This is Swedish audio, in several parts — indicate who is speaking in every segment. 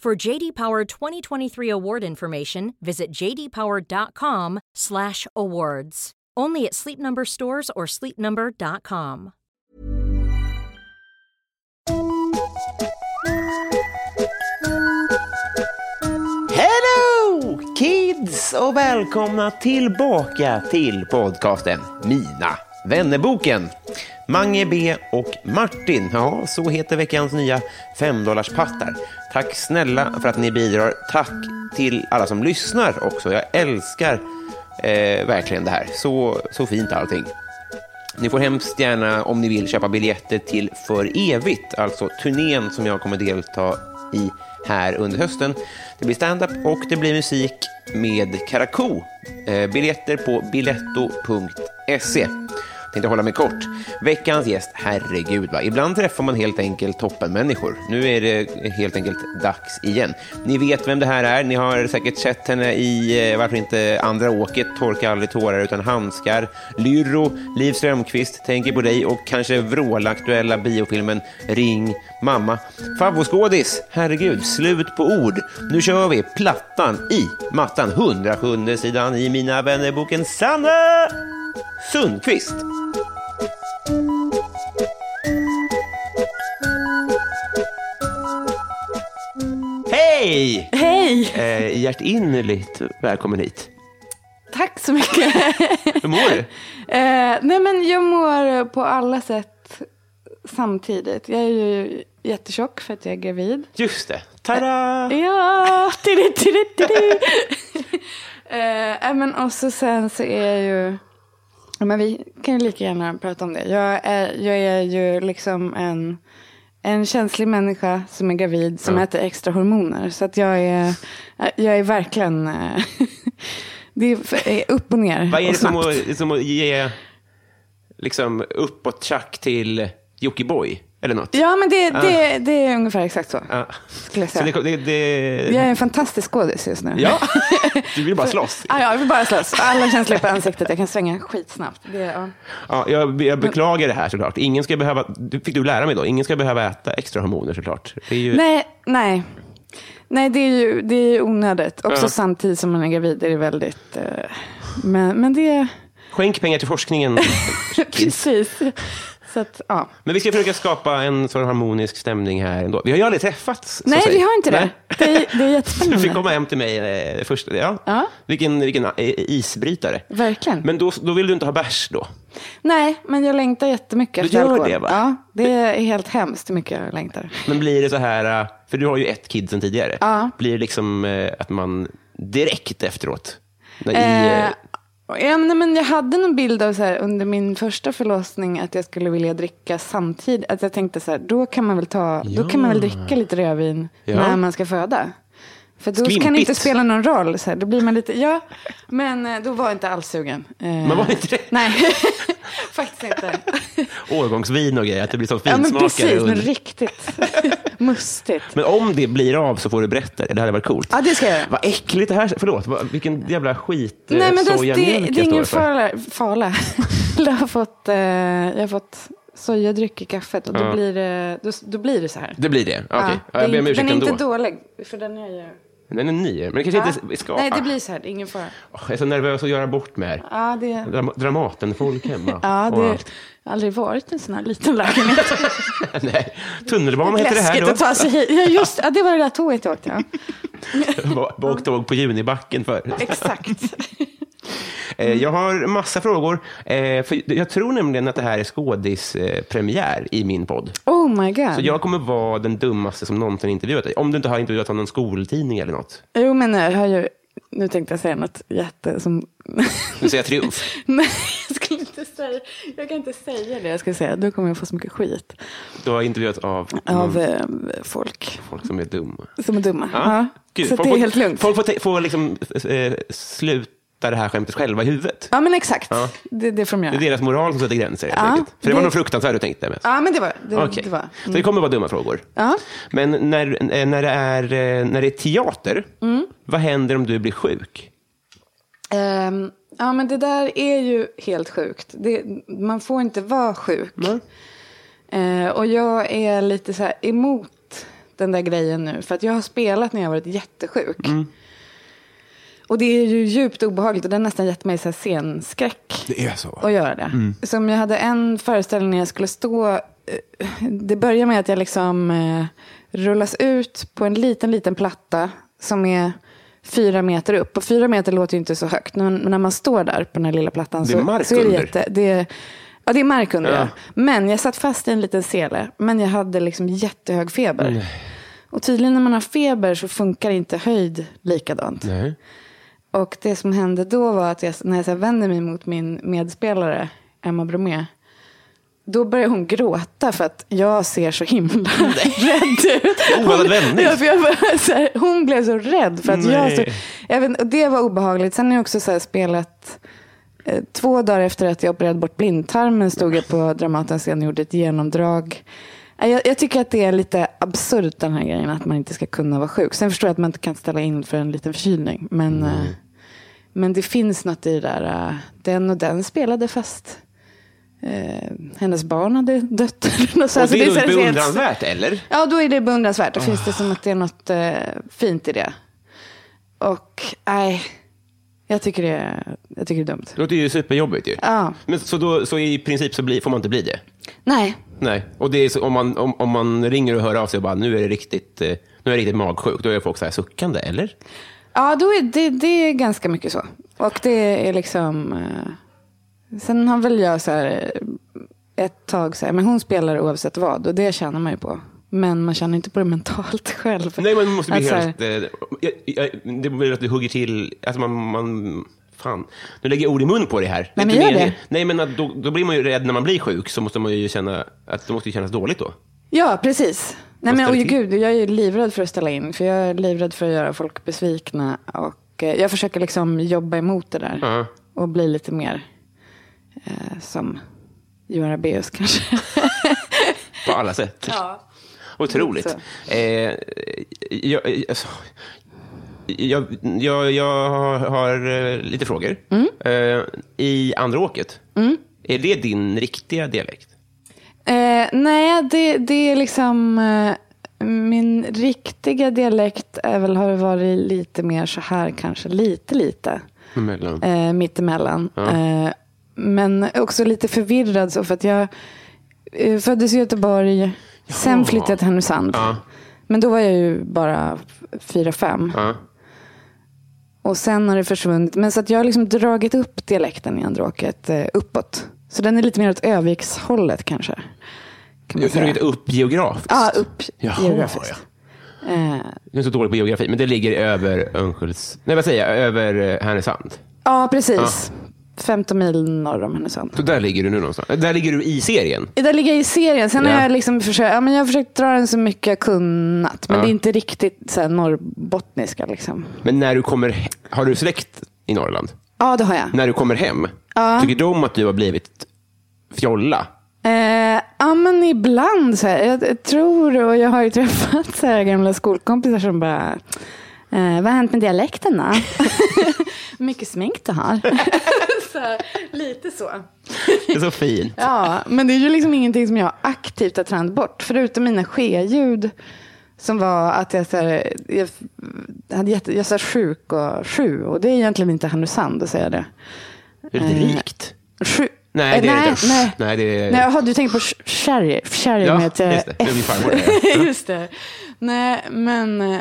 Speaker 1: For JD Power 2023 award information, visit jdpower.com/awards. Only at Sleep Number stores or sleepnumber.com.
Speaker 2: Hello kids och välkomna tillbaka till podcasten Mina vännerboken. Mange B och Martin, ja så heter veckans nya femdollarspattar. Tack snälla för att ni bidrar. Tack till alla som lyssnar också. Jag älskar eh, verkligen det här. Så, så fint allting. Ni får hemskt gärna, om ni vill, köpa biljetter till För evigt, alltså turnén som jag kommer delta i här under hösten. Det blir stand-up och det blir musik med Karakou. Eh, Biljetter på biletto.se. Tänkte hålla mig kort. Veckans gäst, herregud va. Ibland träffar man helt enkelt toppenmänniskor. Nu är det helt enkelt dags igen. Ni vet vem det här är. Ni har säkert sett henne i, eh, varför inte, Andra åket, Torka aldrig tårar utan handskar, Lyro, Liv Strömquist, Tänker på dig och kanske vrålaktuella biofilmen Ring mamma. Favvoskådis, herregud, slut på ord. Nu kör vi plattan i mattan, 107 sidan i Mina vännerboken Sanna Sundqvist. Hej!
Speaker 3: Hej!
Speaker 2: Eh, hjärtinnerligt välkommen hit.
Speaker 3: Tack så mycket.
Speaker 2: Hur mår du?
Speaker 3: eh, nej men jag mår på alla sätt samtidigt. Jag är ju jättetjock för att jag är gravid.
Speaker 2: Just det. Tada!
Speaker 3: Ja, tiri, tiri, tiri. eh, nej, men och så sen så är jag ju... ja, Men vi kan ju lika gärna prata om det. Jag är, jag är ju liksom en, en känslig människa som är gravid som äter extra hormoner. Så att jag är, jag är verkligen... eh, det är upp och ner.
Speaker 2: Vad är
Speaker 3: och
Speaker 2: det som
Speaker 3: snabbt.
Speaker 2: att, som att ge liksom, uppåt tjack till Jockiboi? Eller något?
Speaker 3: Ja, men det, det, det är ungefär exakt så.
Speaker 2: Ja.
Speaker 3: Skulle jag
Speaker 2: Ah. Så det,
Speaker 3: säga.
Speaker 2: det, det...
Speaker 3: Jag är en fantastisk skådis just nu.
Speaker 2: Ja, du vill bara slåss.
Speaker 3: Ah, ja, jag vill bara slåss. Alla känslor på ansiktet. Jag kan svänga skitsnabbt. Det, ja.
Speaker 2: Ja, jag, jag beklagar det här såklart. Ingen ska behöva, du- fick du lära mig då, ingen ska behöva äta extra hormoner såklart. Det är ju,
Speaker 3: Nej, nej. Nej, det är ju, det är ju onödigt. Också
Speaker 2: Ja.
Speaker 3: samtidigt som man är gravid är det väldigt... eh, men, men det är
Speaker 2: Skänk pengar till forskningen.
Speaker 3: precis. Så att, ja.
Speaker 2: Men vi ska försöka skapa en sån harmonisk stämning här ändå. Vi har ju aldrig träffats. så
Speaker 3: Nej,
Speaker 2: säg.
Speaker 3: vi har inte det.
Speaker 2: Nej.
Speaker 3: Det
Speaker 2: Du
Speaker 3: är, det är
Speaker 2: fick
Speaker 3: jättespännande.
Speaker 2: komma hem till mig eh, först. Ja.
Speaker 3: Ja.
Speaker 2: Vilken, vilken eh, isbrytare.
Speaker 3: Verkligen.
Speaker 2: Men då, då vill du inte ha bärs då?
Speaker 3: Nej, men jag längtar jättemycket
Speaker 2: Du
Speaker 3: efter
Speaker 2: gör
Speaker 3: alkohol.
Speaker 2: det, va?
Speaker 3: Ja, det är helt hemskt hur mycket jag längtar.
Speaker 2: Men blir det så här, eh, för du har ju ett kid sedan tidigare.
Speaker 3: Ja.
Speaker 2: Blir det liksom eh, att man direkt efteråt? när- I,
Speaker 3: Eh,
Speaker 2: eh,
Speaker 3: ja, men- men jag hade någon bild av så här, under min första förlossning att jag skulle vilja dricka samtidigt. Att jag tänkte så här, då kan man väl, ta, då kan man väl dricka lite rödvin
Speaker 2: Ja.
Speaker 3: när man ska föda. För då kan det
Speaker 2: Skvimpigt.
Speaker 3: inte spela någon roll. Så här, då blir man lite, ja, men eh, då var jag inte alls sugen. Eh,
Speaker 2: Man var inte det?
Speaker 3: Nej, faktiskt inte.
Speaker 2: årgångsvin och grejer, att det blir så
Speaker 3: ja, men
Speaker 2: finsmakare.
Speaker 3: precis, men
Speaker 2: under-
Speaker 3: riktigt mustigt.
Speaker 2: Men om det blir av så får du berätta det. Det hade varit coolt.
Speaker 3: Ja, det ska jag göra.
Speaker 2: Vad äckligt det här Förlåt, vad, vilken jävla skit eh,
Speaker 3: Nej, men alltså, det, det,
Speaker 2: sojamjölk
Speaker 3: det är
Speaker 2: jag står
Speaker 3: ingen
Speaker 2: för.
Speaker 3: fara. fara. jag, har fått, eh, jag har fått sojadryck i kaffet och då, blir, det, då, då blir det så här.
Speaker 2: Det blir det? Okej,
Speaker 3: Ja,
Speaker 2: ja, jag
Speaker 3: det
Speaker 2: ber
Speaker 3: är
Speaker 2: om
Speaker 3: inte-
Speaker 2: ursäkt
Speaker 3: den är
Speaker 2: ändå.
Speaker 3: inte dålig, för den är ju...
Speaker 4: Den är ny, men det kanske
Speaker 3: Ja.
Speaker 4: inte ska...
Speaker 3: Nej,
Speaker 2: ah.
Speaker 3: det blir så här. Ingen fara.
Speaker 4: Åh, jag är så nervös att göra bort mig här.
Speaker 3: Ja, det...
Speaker 4: Dram- Dramaten-folk hemma.
Speaker 3: Ja,
Speaker 4: Och
Speaker 3: det har
Speaker 4: allt.
Speaker 3: aldrig varit en sån här liten lägenhet.
Speaker 4: Nej. Tunnelbanan heter det här
Speaker 3: Läskigt
Speaker 4: då.
Speaker 3: att ta sig hit. Ja, just ja, det var det där tåget jag åkte. Ja.
Speaker 4: Jag åkte tåg på Junibacken förut.
Speaker 3: Exakt.
Speaker 4: Eh, Jag har massa frågor. eh, För jag tror nämligen att det här är skådispremiär i min podd.
Speaker 3: Oh my god.
Speaker 4: Så jag kommer vara den dummaste som någonsin intervjuat dig. Om du inte har intervjuat någon skoltidning eller något.
Speaker 3: Jo, men jag har ju... Nu tänkte jag säga något jätte som...
Speaker 4: Nu säger jag triumf.
Speaker 3: Nej, jag skulle inte säga... Jag kan inte säga det jag ska säga. Då kommer jag få så mycket skit
Speaker 4: Du har intervjuats av
Speaker 3: av
Speaker 4: någon
Speaker 3: eh, folk
Speaker 4: folk som är dumma.
Speaker 3: som är dumma.
Speaker 4: Mm. Ja.
Speaker 3: Ja.
Speaker 4: Gud,
Speaker 3: Så att
Speaker 4: folk
Speaker 3: det är
Speaker 4: får-
Speaker 3: helt lugnt.
Speaker 4: Folk får, te- får liksom, eh, sluta det här skämtet själva i huvudet.
Speaker 3: Ja, men exakt.
Speaker 4: Ja.
Speaker 3: Det, det får de
Speaker 4: Det är
Speaker 3: göra.
Speaker 4: deras moral som sätter gränser. helt
Speaker 3: Ja,
Speaker 4: enkelt. För det, var
Speaker 3: det-
Speaker 4: nog fruktansvärt du tänkte med.
Speaker 3: Ja, men det var det.
Speaker 4: Okej.
Speaker 3: det var. mm.
Speaker 4: Så det kommer vara dumma frågor.
Speaker 3: Ja.
Speaker 4: Men när, eh, när, det är, eh, när det är teater,
Speaker 3: Mm.
Speaker 4: vad händer om du blir sjuk?
Speaker 3: Ehm, ja, men det där är ju helt sjukt. Det, man får inte vara sjuk. Eh, och jag är lite så här emot den där grejen nu. För att jag har spelat när jag har varit jättesjuk.
Speaker 4: Mm.
Speaker 3: Och det är ju djupt obehagligt och det har nästan gett mig så här scenskräck.
Speaker 4: Det är så. Mm.
Speaker 3: att göra det. Som jag hade en föreställning när jag skulle stå. eh, Det börjar med att jag liksom eh, rullas ut på en liten, liten platta som är fyra meter upp. Och fyra meter låter ju inte så högt. Men men när man står där på den här lilla plattan
Speaker 4: Det är
Speaker 3: så,
Speaker 4: mark
Speaker 3: så är det
Speaker 4: under.
Speaker 3: jätte... Det är, ja, det är mark under.
Speaker 4: Ja.
Speaker 3: Ja. Men jag satt fast i en liten sele. Men jag hade liksom jättehög feber. Och tydligen när man har feber så funkar inte höjd likadant.
Speaker 4: Nej.
Speaker 3: Och det som hände då var att jag, när jag så här vände mig mot min medspelare, Emma Bromé, då började hon gråta för att jag ser så himla rädd ut.
Speaker 4: Oväntad Oh, vändning.
Speaker 3: Ja, för jag var så här, hon blev så rädd för att jag... Så,
Speaker 4: Nej.
Speaker 3: jag vet, och det var obehagligt. Sen har jag också så här spelat... Eh, två dagar efter att jag opererade bort blindtarmen stod jag på Dramatens scen och gjorde ett genomdrag. Eh, Jag, jag tycker att det är lite absurt den här grejen att man inte ska kunna vara sjuk. Sen förstår jag att man inte kan ställa in för en liten förkylning. Men, eh, men det finns något i det där. eh, Den och den spelade fast eh, hennes barn hade dött. eller något så här.
Speaker 4: Och
Speaker 3: Så
Speaker 4: det är
Speaker 3: så här-
Speaker 4: nog
Speaker 3: så helt-
Speaker 4: beundransvärt, Ah. eller?
Speaker 3: Ja, då är det beundransvärt. Då finns det som att det är något eh, fint i det. Och nej, jag tycker det, är- jag tycker det är dumt.
Speaker 4: Det låter ju superjobbigt. Ju.
Speaker 3: Ja.
Speaker 4: Men så, då, så i princip så blir, får man inte bli det?
Speaker 3: Nej,
Speaker 4: Nej. Och det är så, om, man, om, om man ringer och hör av sig och bara nu är det riktigt, eh, nu är jag riktigt magsjuk, då är folk så här suckande, eller?
Speaker 3: ja, då är det, det är ganska mycket så. Och det är liksom... Eh, sen har väl jag så här, eh, ett tag så här, men hon spelar oavsett vad och det tjänar man ju på. Men man känner inte på det mentalt själv.
Speaker 4: Nej, man måste bli
Speaker 3: Att så här-
Speaker 4: helt... Eh, jag, jag, det blir att du hugger till... Alltså man, man, fan, nu lägger jag ord i mun på det här.
Speaker 3: Nej,
Speaker 4: Det är
Speaker 3: men
Speaker 4: inte
Speaker 3: gör
Speaker 4: meningen.
Speaker 3: det.
Speaker 4: Nej, men att, då, då blir man ju rädd när man blir sjuk, så måste man ju känna att det måste ju kännas dåligt då.
Speaker 3: Ja, precis. Nej, men,
Speaker 4: ställer
Speaker 3: och
Speaker 4: till.
Speaker 3: gud, jag är ju livrädd för att ställa in. För jag är livrädd för att göra folk besvikna. Och eh, jag försöker liksom jobba emot det där.
Speaker 4: Ja.
Speaker 3: Och bli lite mer eh, som Johan Rabaeus kanske.
Speaker 4: På alla sätt. Otroligt. Eh, jag, eh, alltså, jag, jag, jag har, har eh, lite frågor.
Speaker 3: Mm.
Speaker 4: Eh, I andra åket, är det din riktiga dialekt?
Speaker 3: Eh, nej, det, det är liksom... Eh, min riktiga dialekt är väl, har varit lite mer så här kanske. Lite, lite.
Speaker 4: Mellan.
Speaker 3: eh, mittemellan. Eh, men också lite förvirrad så för att jag eh, föddes i Göteborg, sen flyttade jag till Härnösand. Men då var jag ju bara f- fyra, fem.
Speaker 4: Ja.
Speaker 3: Och sen har det försvunnit. Men så att jag har liksom dragit upp dialekten i andråket eh, uppåt. Så den är lite mer åt Övikshållet kanske. Kan man
Speaker 4: Jag har
Speaker 3: säga.
Speaker 4: dragit upp geografiskt.
Speaker 3: Eh, Ja, upp
Speaker 4: Jaha,
Speaker 3: geografiskt. Eh,
Speaker 4: Jag är så dålig på geografi, men det ligger över Örnskölds... Nej, vad säger jag? Över eh, Härnösand.
Speaker 3: ja, precis. 15 mil norr om Härnösand.
Speaker 4: Så där ligger du nu någonstans. Eh, Där ligger du i serien.
Speaker 3: Där ligger jag i serien. Sen
Speaker 4: Ja.
Speaker 3: har jag liksom försökt, ja, men jag har försökt dra den så mycket jag kunnat. Men det är inte riktigt så här norrbottniska. Liksom.
Speaker 4: Men när du kommer... he- Har du släkt i Norrland?
Speaker 3: Ja, det har jag.
Speaker 4: När du kommer hem, tycker de om att du har blivit fjolla?
Speaker 3: Eh, ja, men ibland så här. Jag, jag tror, och jag har ju träffat så här gamla skolkompisar som bara, eh, vad har hänt med dialekten då? mycket smink du har. så här, lite så.
Speaker 4: Det är så fint.
Speaker 3: Ja, men det är ju liksom ingenting som jag aktivt har tränat bort. Förutom mina skeljud Som var att jag, så här, jag, hade jätte, jag sa sjuk och sju. Och det är egentligen inte Härnösand att säga det.
Speaker 4: Är det
Speaker 3: Eh,
Speaker 4: rikt?
Speaker 3: Sju. Eh,
Speaker 4: Nej, det är
Speaker 3: nej,
Speaker 4: det inte.
Speaker 3: Nej.
Speaker 4: Nej, det är-
Speaker 3: nej jaha, du tänker på sh- sherry. Sherry
Speaker 4: Ja,
Speaker 3: med
Speaker 4: just
Speaker 3: ett...
Speaker 4: det.
Speaker 3: eh,
Speaker 4: Det är min farmor. det.
Speaker 3: just det. Nej, men... eh,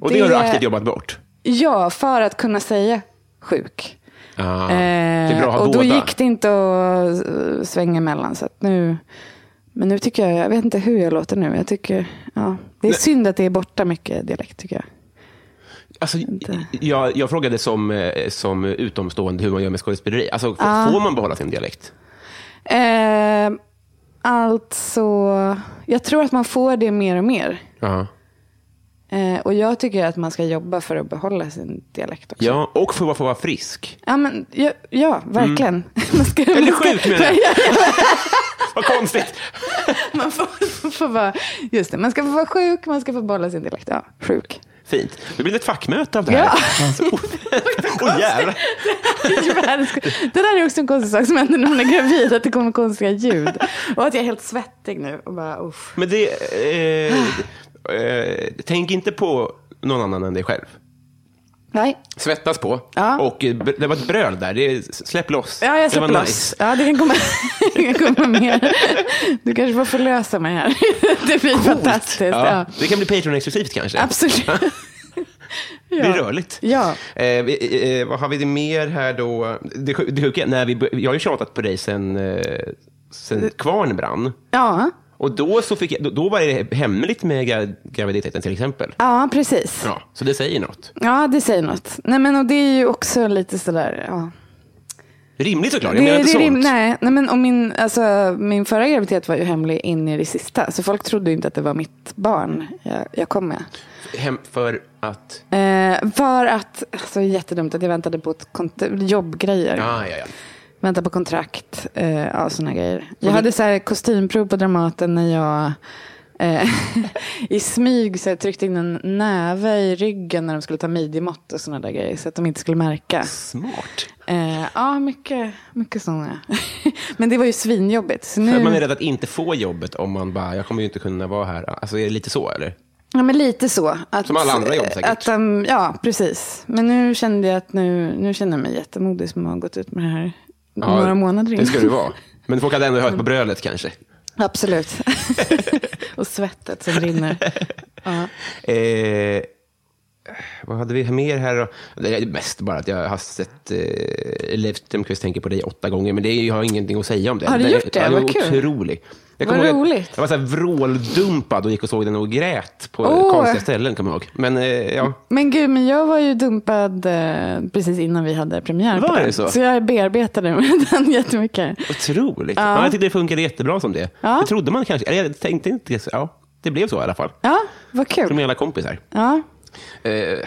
Speaker 4: Och det har du aktivt jobbat bort.
Speaker 3: Ja, för att kunna säga sjuk.
Speaker 4: Ah,
Speaker 3: Eh,
Speaker 4: det är bra att ha
Speaker 3: och
Speaker 4: båda.
Speaker 3: då gick det inte att eh, svänga emellan. Så att nu, men nu tycker jag, jag vet inte hur jag låter nu. Jag tycker, ja, det är synd att det är borta mycket dialekt tycker jag.
Speaker 4: Alltså, jag, jag frågade som, eh, som utomstående hur man gör med skådespeleri. Alltså, f-
Speaker 3: Ah.
Speaker 4: Får man behålla sin dialekt?
Speaker 3: Eh, alltså, jag tror att man får det mer och mer.
Speaker 4: Ja.
Speaker 3: Eh, och jag tycker att man ska jobba för att behålla sin dialekt också.
Speaker 4: ja, och för att få vara frisk.
Speaker 3: Ja, men, ja, ja verkligen. Man ska,
Speaker 4: Mm. Eller
Speaker 3: man ska-
Speaker 4: sjuk menar jag. Vad konstigt.
Speaker 3: Man får, får vara, just det, man ska få vara sjuk, man ska få behålla sin dialekt. Ja, sjuk.
Speaker 4: Fint. Det blir ett fackmöte av det här. Åh jävlar.
Speaker 3: Världens- Det där är också en konstig sak som händer när man är gravid, att det kommer konstiga ljud. Och att jag är helt svettig nu. Och bara, uff.
Speaker 4: Men det... Eh, eh, tänk inte på någon annan än dig själv.
Speaker 3: Nej,
Speaker 4: Svettas på.
Speaker 3: Ja.
Speaker 4: Och eh, br- det var ett bröl där. Det, är- släpp loss.
Speaker 3: ja, jag släpper
Speaker 4: det var
Speaker 3: loss.
Speaker 4: nice.
Speaker 3: Ja, det kan komma, det kan komma mer. Du kanske får förlösa mig här. Det blir fantastiskt.
Speaker 4: Ja.
Speaker 3: Ja.
Speaker 4: Det kan bli Patreon-exklusivt kanske.
Speaker 3: Absolut.
Speaker 4: Det blir rörligt.
Speaker 3: Ja.
Speaker 4: Eh, vi- eh, vad har vi det mer här då? Det, sju- det sjuka, när vi, bör- jag har ju tjatat på dig sen, eh, sen kvarn brann.
Speaker 3: Ja.
Speaker 4: Och då, så fick jag, då, då var det hemligt med gra, graviditeten till exempel.
Speaker 3: ja, precis.
Speaker 4: Ja, så det säger något.
Speaker 3: Ja, det säger något. Nej, men och det är ju också lite sådär, ja.
Speaker 4: Rimligt såklart, jag
Speaker 3: Det,
Speaker 4: menar
Speaker 3: det,
Speaker 4: inte
Speaker 3: rim-
Speaker 4: sånt.
Speaker 3: nej, nej, men om min, alltså, min förra graviditet var ju hemlig in i det sista. Så folk trodde ju inte att det var mitt barn jag, jag kom med.
Speaker 4: Hem, för att...
Speaker 3: Eh, för att, alltså jättedumt att jag väntade på ett kont- jobbgrejer.
Speaker 4: Ah, ja, ja.
Speaker 3: Väntade på kontrakt, eh, ja sådana grejer. Jag hade så här kostymprov på Dramaten när jag eh, i smyg så här, tryckte in en näve i ryggen när de skulle ta midjemått och sådana där grejer. Så att de inte skulle märka.
Speaker 4: Smart.
Speaker 3: Eh, ja, mycket, mycket sådana. Men det var ju svinjobbigt. Så nu,
Speaker 4: För att man är rädd att inte få jobbet om man bara, jag kommer ju inte kunna vara här. Alltså är det lite så eller?
Speaker 3: Ja, men lite så. Att,
Speaker 4: Som alla andra jobb säkert.
Speaker 3: Att, de- ja, precis. Men nu kände jag att nu, nu känner jag mig jättemodig som har gått ut med det här några månader
Speaker 4: Det
Speaker 3: innan.
Speaker 4: ska du vara. Men folk hade ändå hört på brölet kanske.
Speaker 3: Absolut. och svettet som rinner. Ja.
Speaker 4: Eh, vad hade vi mer här då? Det är mest bara att jag har sett eh, Leif Strömquist tänker på dig åtta gånger, men det är, jag har ingenting att säga om det.
Speaker 3: Har du
Speaker 4: Den-
Speaker 3: gjort det?
Speaker 4: Ja, den
Speaker 3: Vad
Speaker 4: var
Speaker 3: kul.
Speaker 4: otrolig. Jag
Speaker 3: Vad
Speaker 4: kommer ihåg att
Speaker 3: roligt.
Speaker 4: Jag var så här vråldumpad och gick och såg den och grät på
Speaker 3: Åh.
Speaker 4: konstiga ställen, kommer jag ihåg. Men eh, ja,
Speaker 3: Men gud, men jag var ju dumpad eh, precis innan vi hade premiär. på
Speaker 4: Var
Speaker 3: den.
Speaker 4: det så?
Speaker 3: så jag bearbetade med den jättemycket.
Speaker 4: otroligt. Ja. jag tyckte det funkade jättebra som det.
Speaker 3: Ja.
Speaker 4: Det trodde man kanske. Eller jag tänkte inte så. Ja, det blev så i alla fall.
Speaker 3: Ja, vad
Speaker 4: Som
Speaker 3: kul.
Speaker 4: alla kompisar.
Speaker 3: Ja.
Speaker 4: Eh, ja,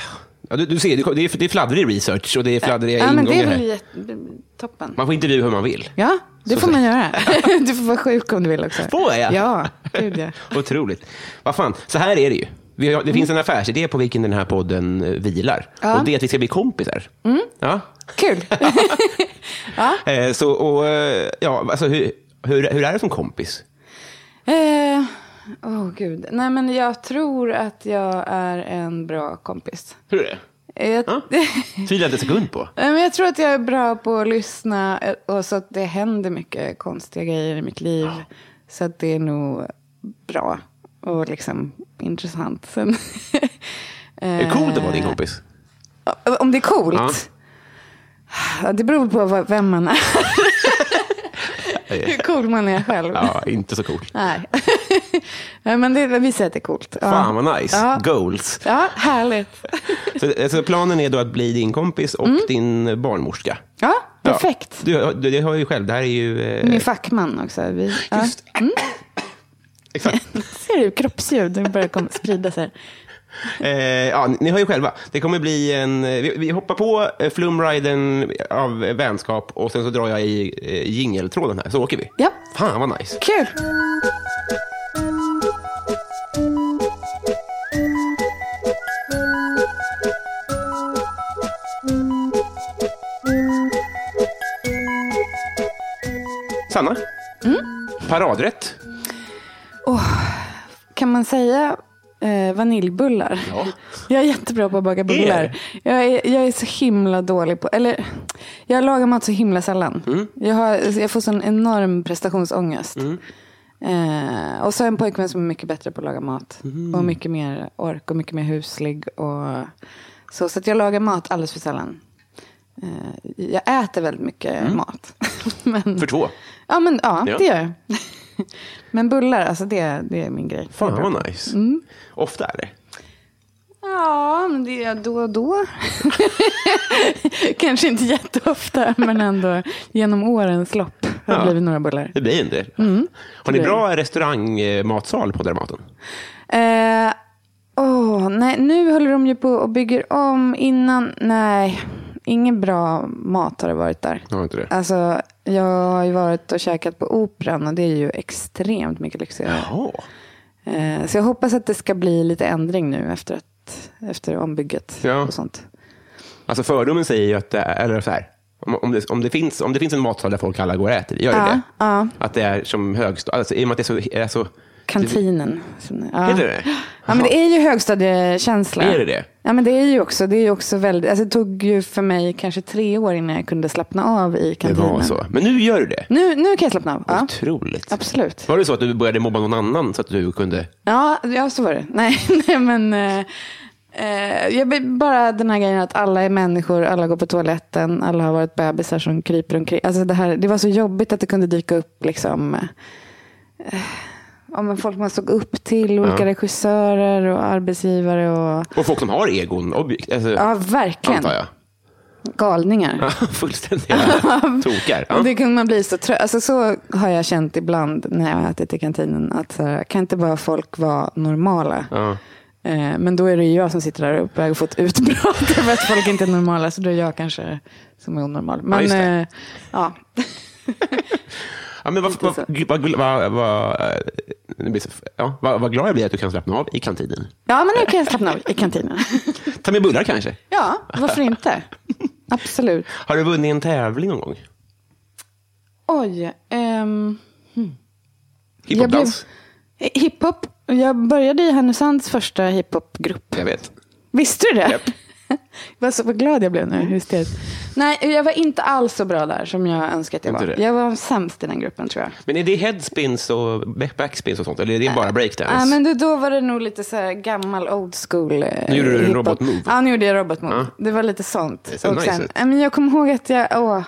Speaker 4: du, du ser, det är, det är fladdrig research och det är fladdriga
Speaker 3: ja, men
Speaker 4: ingångar
Speaker 3: det är
Speaker 4: här.
Speaker 3: väl jätte- toppen.
Speaker 4: Man får intervjua hur man vill.
Speaker 3: Ja, det
Speaker 4: Så
Speaker 3: får
Speaker 4: säg.
Speaker 3: man göra. Du får vara sjuk om du vill också.
Speaker 4: Får jag?
Speaker 3: Ja, gud ja. Mm.
Speaker 4: Otroligt. Vad fan, så här är det ju. Vi har, det finns en affärsidé på vilken den här podden eh, vilar.
Speaker 3: Ja. Mm.
Speaker 4: Och det är att vi ska bli kompisar. Ja.
Speaker 3: Kul.
Speaker 4: Eh, så, och, eh, ja, alltså, hur, hur, hur är det som kompis?
Speaker 3: Eh, Åh gud. Nej men jag tror att jag är en bra kompis.
Speaker 4: Hur är det?
Speaker 3: Eh, Jag,
Speaker 4: Ja.
Speaker 3: Nej,
Speaker 4: Tvivlar inte en sekund på.
Speaker 3: men jag tror att jag är bra på att lyssna eh, och så att det händer mycket konstiga grejer i mitt liv. Så att det är nog bra och liksom intressant. Sen.
Speaker 4: Är det coolt att vara din kompis?
Speaker 3: Eh, Om det är coolt?
Speaker 4: Ja.
Speaker 3: Ja, Det beror på vad- vem man är. Hur cool man är själv.
Speaker 4: Ja, inte så coolt.
Speaker 3: Nej. Nej, men det, vi säger att det är coolt. Ja.
Speaker 4: Fan vad nice.
Speaker 3: Ja.
Speaker 4: Goals.
Speaker 3: Ja, härligt.
Speaker 4: Så, alltså, planen är då att bli din kompis och
Speaker 3: Mm.
Speaker 4: din barnmorska.
Speaker 3: Ja,
Speaker 4: Ja.
Speaker 3: perfekt.
Speaker 4: Du, du, det har ju själv. Det här är ju... eh,
Speaker 3: Min fackman också. Vi, ja.
Speaker 4: Just. Exakt.
Speaker 3: Ser du kroppsljud? Det börjar kom, sprida sig.
Speaker 4: Eh, ja, ni- ni hör ju själva. Det kommer bli en... eh, Vi, vi hoppar på eh, flumriden av eh, vänskap och sen så drar jag i eh, jingeltråden här, så åker vi.
Speaker 3: Ja.
Speaker 4: Fan vad nice.
Speaker 3: Kul.
Speaker 4: Sanna?
Speaker 3: Mm.
Speaker 4: Paradrätt?
Speaker 3: Kan man säga eh, eh, vaniljbullar.
Speaker 4: Ja.
Speaker 3: Jag är jättebra på att baka bullar. Jag är, jag är så himla dålig på, eller jag lagar mat så himla sällan.
Speaker 4: Mm.
Speaker 3: Jag, har, jag får sån enorm prestationsångest. Eh, och så har jag en pojkvän som är mycket bättre på att laga mat.
Speaker 4: Mm.
Speaker 3: Och mycket mer ork och mycket mer huslig. Och så så att jag lagar mat alldeles för sällan. Eh, jag äter väldigt mycket mat. Men,
Speaker 4: För två.
Speaker 3: Ja, men, ja,
Speaker 4: Mm. Ja.
Speaker 3: det gör jag. men bullar, alltså det, det är min grej.
Speaker 4: Fan vad nice.
Speaker 3: Mm.
Speaker 4: Ofta är det.
Speaker 3: Ja, men det gör jag då och då. Kanske inte jätteofta, men ändå genom årens lopp har det
Speaker 4: Ja.
Speaker 3: blivit några bullar.
Speaker 4: Det blir en del.
Speaker 3: Mm.
Speaker 4: Har ni bra restaurangmatsal på Dramaten?
Speaker 3: Eh, åh, nej, nu håller de ju på och bygger om innan. Nej, ingen bra mat har det varit där.
Speaker 4: Jag har inte det.
Speaker 3: Alltså, jag har ju varit och käkat på Operan och det är ju extremt mycket lyxigare.
Speaker 4: Jaha.
Speaker 3: Eh, Så jag hoppas att det ska bli lite ändring nu efter, att, efter ombygget
Speaker 4: Ja.
Speaker 3: och sånt.
Speaker 4: Alltså fördomen säger ju att det är, eller så här, om, om, det, om, det finns, om det finns en matsal där folk alla går och äter, gör det
Speaker 3: Ja,
Speaker 4: det?
Speaker 3: ja.
Speaker 4: Att det är som högstad, alltså, i och med att det är så... Är så
Speaker 3: Kantinen. som- Ja.
Speaker 4: Heter det det?
Speaker 3: Ja, men det är ju högstadiekänsla.
Speaker 4: Är det det?
Speaker 3: Ja, men det är ju också, det är ju också väldigt, alltså det tog ju för mig kanske tre år innan jag kunde slappna av i
Speaker 4: det
Speaker 3: kantinen.
Speaker 4: var så. Men nu gör du det.
Speaker 3: Nu, nu kan jag slappna av. Ja.
Speaker 4: Otroligt.
Speaker 3: Absolut.
Speaker 4: Var det så att du började mobba någon annan så att du kunde...
Speaker 3: Ja, ja, så var det. Nej, nej men... Eh, eh, jag vill bara den här grejen att alla är människor, alla går på toaletten, alla har varit bebisar som kryper omkring. Alltså det, här, det var så jobbigt att det kunde dyka upp liksom... eh, Ja, men folk man såg upp till, olika regissörer och arbetsgivare och...
Speaker 4: Och folk som har egon, objekt, alltså,
Speaker 3: Ja, verkligen.
Speaker 4: antar jag.
Speaker 3: Galningar.
Speaker 4: Fullständiga tokar. Ja.
Speaker 3: Och det kunde man bli så trött. Alltså så har jag känt ibland när jag har ätit i kantinen. Att så här, kan inte bara folk vara normala? Eh, Men då är det ju jag som sitter där uppe och har fått utbrott över att folk inte är normala. Så då är jag kanske som är onormal. Men
Speaker 4: just det.
Speaker 3: eh, ja,
Speaker 4: Ja, men vad, vad,
Speaker 3: så.
Speaker 4: gud, vad, gl- vad, vad, eh, det blir så, ja, vad, vad glad jag blir att du kan slappna av i kantinen.
Speaker 3: ja men nu kan jag slappna av i kantinen.
Speaker 4: Ta med bullar kanske.
Speaker 3: Ja, varför inte? Absolut.
Speaker 4: Har du vunnit en tävling någon gång?
Speaker 3: Oj. ehm,
Speaker 4: Hiphopdans?
Speaker 3: Jag blev, hiphop. Jag började i Härnösands första hiphopgrupp.
Speaker 4: Jag vet.
Speaker 3: Visste du det?
Speaker 4: Japp.
Speaker 3: Vad så vad glad jag blev nu. Hysteriskt. Nej, jag var inte alls så bra där som jag önskade att jag
Speaker 4: Inte
Speaker 3: var.
Speaker 4: det?
Speaker 3: Jag var sämst i den gruppen tror jag.
Speaker 4: Men är det headspins och back- backspins och sånt? Eller är det bara breakdance?
Speaker 3: Nej, Äh, men du, då var det nog lite så här gammal old school. eh,
Speaker 4: Nu gjorde du en
Speaker 3: hiphop.
Speaker 4: robotmove.
Speaker 3: Ja, nu gjorde jag robotmove.
Speaker 4: Ja.
Speaker 3: Det var lite sånt.
Speaker 4: Det ser nice ut.
Speaker 3: nej, men jag kommer ihåg att jag, åh.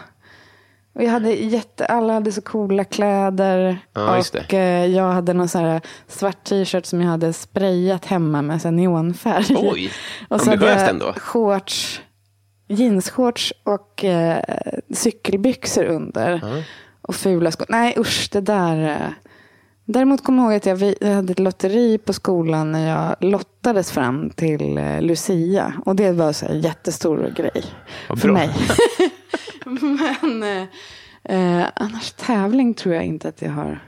Speaker 3: Och jag hade jätte, alla hade så coola kläder.
Speaker 4: Ja, just
Speaker 3: och eh, jag hade någon så här svart t-shirt som jag hade sprayat hemma med så här neonfärg.
Speaker 4: Oj,
Speaker 3: och så hade
Speaker 4: ambitiöst
Speaker 3: jag
Speaker 4: ändå.
Speaker 3: shorts, jeansshorts och eh, cykelbyxor under. Och fula skor. Nej usch, det där. Eh. Däremot kommer jag ihåg att jag, vi, jag hade ett lotteri på skolan när jag lottades fram till eh, Lucia. Och det var så här en jättestor grej
Speaker 4: Vad
Speaker 3: för
Speaker 4: bra.
Speaker 3: mig. Men eh, eh, annars tävling tror jag inte att jag har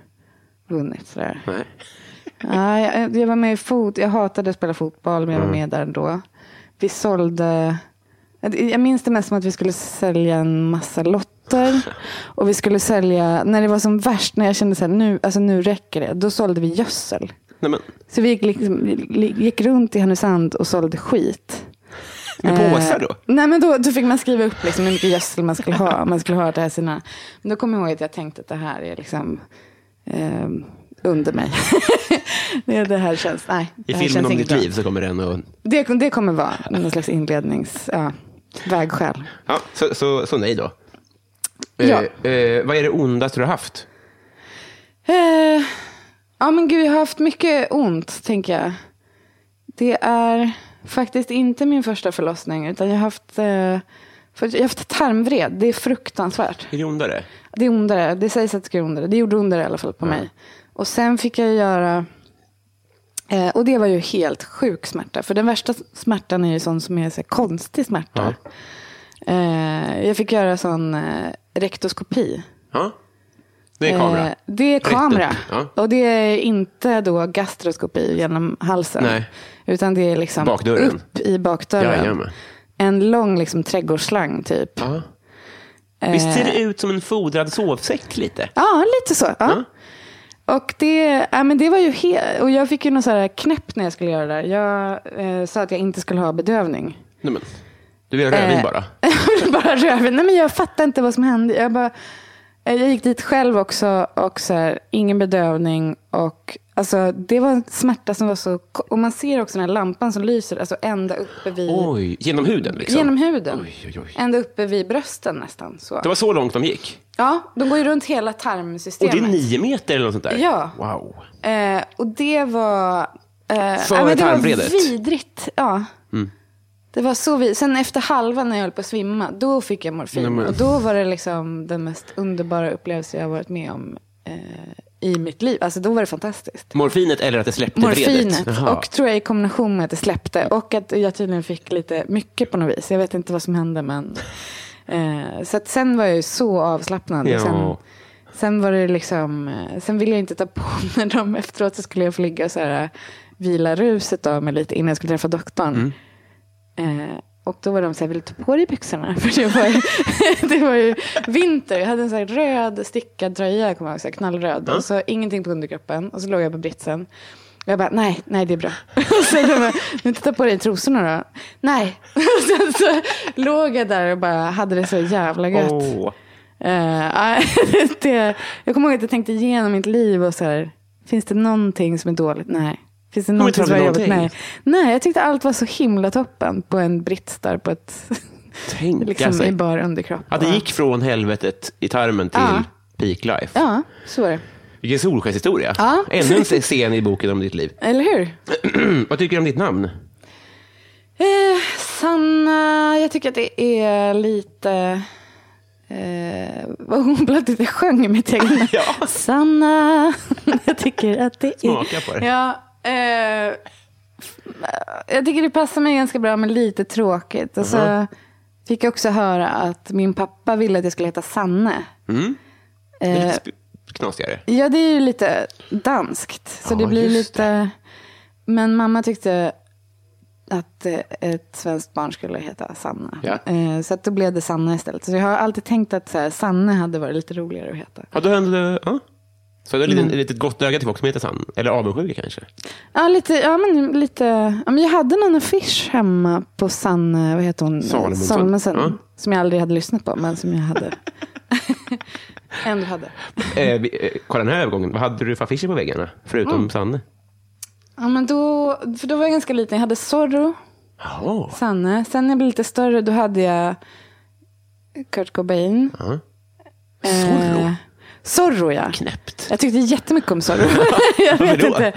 Speaker 3: vunnit. Sådär.
Speaker 4: Nej.
Speaker 3: Nej, jag, jag var med i fot. Jag hatade att spela fotboll, men jag
Speaker 4: Mm.
Speaker 3: var med där ändå. Vi sålde... Jag minns det mest som att vi skulle sälja en massa lotter. Och vi skulle sälja... När det var som värst, när jag kände så här, nu, alltså nu räcker det. Då sålde vi gödsel.
Speaker 4: Nej, men,
Speaker 3: Så vi gick, liksom, gick runt i Härnösand och sålde skit.
Speaker 4: med
Speaker 3: Eh,
Speaker 4: påsar då?
Speaker 3: Nej, men då, då fick man skriva upp liksom hur mycket gödsel man skulle ha. Man skulle ha det här sina. Men då kommer jag ihåg att jag tänkte att det här är liksom ehm, under mig. det, det här känns, nej.
Speaker 4: I
Speaker 3: det här känns
Speaker 4: filmen om
Speaker 3: inget
Speaker 4: ditt
Speaker 3: bra.
Speaker 4: liv så kommer den och...
Speaker 3: Det, det kommer vara någon slags inlednings, ja, vägskäl.
Speaker 4: Ja, så, så, så nej då.
Speaker 3: Ja.
Speaker 4: Eh, eh, vad är det ondaste du har haft?
Speaker 3: Eh, ja men gud, jag har haft mycket ont tänker jag. Det är faktiskt inte min första förlossning utan jag har haft, eh, för, jag har haft tarmvred. Det är fruktansvärt.
Speaker 4: Är det ondare?
Speaker 3: Det är ondare. Det sägs att det ska göra ondare. Det gjorde ondare i alla fall på mig. Och sen fick jag göra... Eh, och det var ju helt sjuk smärta. För den värsta smärtan är ju sån som är så här, konstig smärta. Eh, jag fick göra sån eh, rektoskopi.
Speaker 4: Ja. Det är kamera.
Speaker 3: Eh, det är
Speaker 4: upp.
Speaker 3: kamera.
Speaker 4: Ja.
Speaker 3: Och det är inte då gastroskopi genom halsen.
Speaker 4: Nej.
Speaker 3: Utan det är liksom
Speaker 4: Bakdörren.
Speaker 3: upp i bakdörren.
Speaker 4: Jajamän.
Speaker 3: En lång liksom, trädgårdsslang typ.
Speaker 4: Ja.
Speaker 3: eh,
Speaker 4: Visst ser det ut som en fodrad sovsäck lite?
Speaker 3: Ja, lite så. Ja. Och det, ja, men det var ju he- och jag fick ju någon så här knäpp när jag skulle göra det där. Jag eh, sa att jag inte skulle ha bedövning.
Speaker 4: Nej, men, du vill ha rödvin
Speaker 3: Eh,
Speaker 4: bara?
Speaker 3: bara röven. Nej, men jag fattar inte vad som hände. Jag, bara, eh, jag gick dit själv också och så här, ingen bedövning. Och, alltså, det var en smärta som var så... Och man ser också den här lampan som lyser alltså, ända uppe vid...
Speaker 4: Oj, genom huden liksom?
Speaker 3: Genom huden.
Speaker 4: Oj, oj, oj.
Speaker 3: Ända uppe vid brösten nästan. Så.
Speaker 4: Det var så långt de gick?
Speaker 3: Ja, de går ju runt hela
Speaker 4: Och
Speaker 3: tarmsystemet.
Speaker 4: det är nio meter eller något sånt där?
Speaker 3: Ja.
Speaker 4: Wow.
Speaker 3: Eh, och det var... Eh,
Speaker 4: För
Speaker 3: ja, men det
Speaker 4: tarmbredet? Mm.
Speaker 3: var vidrigt. Ja. Det var så vid... Sen efter halva när jag höll på att svimma, då fick jag morfin.
Speaker 4: Nej, men-
Speaker 3: Och då var det liksom den mest underbara upplevelse jag har varit med om eh, i mitt liv. Alltså då var det fantastiskt.
Speaker 4: Morfinet eller att det släppte bredet?
Speaker 3: Morfinet.
Speaker 4: Jaha.
Speaker 3: Och tror jag i kombination med att det släppte. Och att jag tydligen fick lite mycket på något vis. Jag vet inte vad som hände men. Eh, så att sen var jag ju så avslappnad.
Speaker 4: Ja.
Speaker 3: Sen, sen var det liksom. eh, Sen ville jag inte ta på mig dem efteråt. Så skulle jag få ligga och så här, eh, vila ruset av mig lite innan jag skulle träffa
Speaker 4: Mm.
Speaker 3: doktorn. Eh, och då var de så här, vill du ta på dig byxorna? För det var ju, det var ju vinter. Jag hade en så här röd stickad tröja, kommer jag ihåg, så här knallröd. Och så ingenting på underkroppen. Och så låg jag på britsen. Och jag bara, nej, nej det är bra. Och så de bara, men titta på dig i trosorna då. Nej. Och sen så låg jag där och bara hade det så jävla gött.
Speaker 4: Åh.
Speaker 3: Eh, ah, det, jag kommer ihåg att jag tänkte igenom mitt liv och så här, finns det någonting som är dåligt? Nej. Finns det någonting
Speaker 4: inte
Speaker 3: som är
Speaker 4: hade
Speaker 3: jobbigt? Nej.
Speaker 4: någonting.
Speaker 3: Nej, jag tyckte allt var så himla toppen på en brits där på ett,
Speaker 4: Tänka
Speaker 3: liksom
Speaker 4: sig.
Speaker 3: i bar underkropp.
Speaker 4: Ja, det gick från helvetet i tarmen till
Speaker 3: Ja.
Speaker 4: peak life.
Speaker 3: Ja, så var det.
Speaker 4: Vilken solskenshistoria.
Speaker 3: Ja.
Speaker 4: Ännu en scen i boken om ditt liv.
Speaker 3: Eller hur?
Speaker 4: Vad tycker du om ditt namn?
Speaker 3: Eh, Sanna, jag tycker att det är lite... Eh, vad hon plötsligt sjöng mitt egna namn.
Speaker 4: Ja.
Speaker 3: Sanna, jag tycker att det är...
Speaker 4: Smaka på det.
Speaker 3: Ja, eh, jag tycker det passar mig ganska bra, men lite tråkigt. Och så fick jag också höra att min pappa ville att jag skulle heta Sanne.
Speaker 4: Det
Speaker 3: Eh.
Speaker 4: är lite sp- knasigare.
Speaker 3: Ja, det är ju lite danskt. Så
Speaker 4: Ja,
Speaker 3: det blir
Speaker 4: just
Speaker 3: lite... Men mamma tyckte att eh, ett svenskt barn skulle heta Sanna.
Speaker 4: Ja.
Speaker 3: Eh, Så att då blev det Sanna istället. Så jag har alltid tänkt att så här, Sanne hade varit lite roligare att heta.
Speaker 4: Ja, då hände det... Ja. Så det är lite,
Speaker 3: Mm.
Speaker 4: lite gott öga till folk som heter Sann. Eller avundsjuka kanske.
Speaker 3: Ja, lite, ja, men lite, ja, men jag hade någon affisch hemma på Sanne, vad heter hon?
Speaker 4: Salomonsson. Ja.
Speaker 3: Som jag aldrig hade lyssnat på, men som jag hade. Ändå hade.
Speaker 4: Eh, vi- eh, kolla den här övergången. Vad hade du för affischer på väggarna? Förutom
Speaker 3: Mm.
Speaker 4: Sanne?
Speaker 3: Ja, men då, för då var jag ganska liten. Jag hade Zorro.
Speaker 4: Jaha.
Speaker 3: Sanne. Sen när jag blev lite större då hade jag Kurt Cobain.
Speaker 4: Zorro?
Speaker 3: Eh, Zorro ja.
Speaker 4: Knäppt.
Speaker 3: Jag tyckte jättemycket om Zorro. jag vet
Speaker 4: då?
Speaker 3: inte.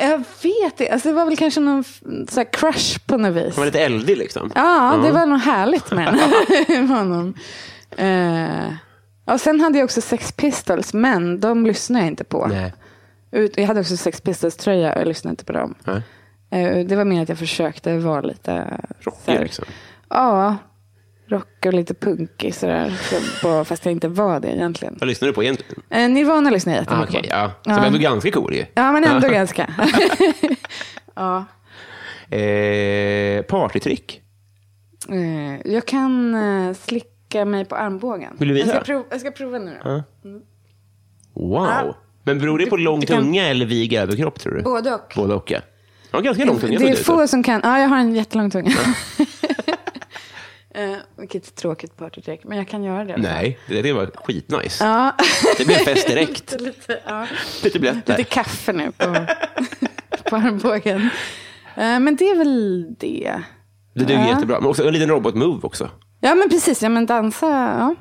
Speaker 3: Jag vet inte. Alltså, det var väl kanske någon f- så här crush på något vis.
Speaker 4: Han var lite eldig liksom.
Speaker 3: Ja, det var nog härligt med den- med honom. Eh, och sen hade jag också Sex Pistols, men de lyssnade jag inte på.
Speaker 4: Nej.
Speaker 3: Ut, jag hade också Sex Pistols-tröja och jag lyssnade inte på dem.
Speaker 4: Nej.
Speaker 3: Eh, Det var mer att jag försökte vara lite... så
Speaker 4: Rockig
Speaker 3: här-
Speaker 4: liksom.
Speaker 3: Ja, rock och lite punkig sådär. Så bara- Fast jag inte var det egentligen.
Speaker 4: Vad lyssnar du på egentligen?
Speaker 3: Eh, Nirvana lyssnade jag
Speaker 4: Ah,
Speaker 3: jättemycket
Speaker 4: Okej,
Speaker 3: på.
Speaker 4: ja. Ah. Så det var ganska cool ju.
Speaker 3: Ja, men ändå ganska.
Speaker 4: Eh, partytrick?
Speaker 3: Eh, Jag kan eh, slicka mig på armbågen.
Speaker 4: Vill du Ah. visa?
Speaker 3: Jag ska, prov- jag ska prova nu då.
Speaker 4: Wow. Men beror det på lång
Speaker 3: du kan-
Speaker 4: tunga eller vig överkropp tror du?
Speaker 3: Både och.
Speaker 4: Både och ja. Ja, ganska lång tunga
Speaker 3: Det är
Speaker 4: såg ut.
Speaker 3: få som kan. Ja, jag har en jättelång tunga.
Speaker 4: Ah.
Speaker 3: Eh, Vilket tråkigt partytrick, men jag kan göra det.
Speaker 4: Nej, det, det var skitnice.
Speaker 3: Ja,
Speaker 4: Det blev fest direkt.
Speaker 3: lite, ja.
Speaker 4: Lite blött
Speaker 3: lite
Speaker 4: där.
Speaker 3: kaffe nu på, på armbågen. Eh, Men det är väl det.
Speaker 4: Det duger jättebra. Men också en liten robotmove också.
Speaker 3: Ja, men precis. Ja, men dansa. Ja,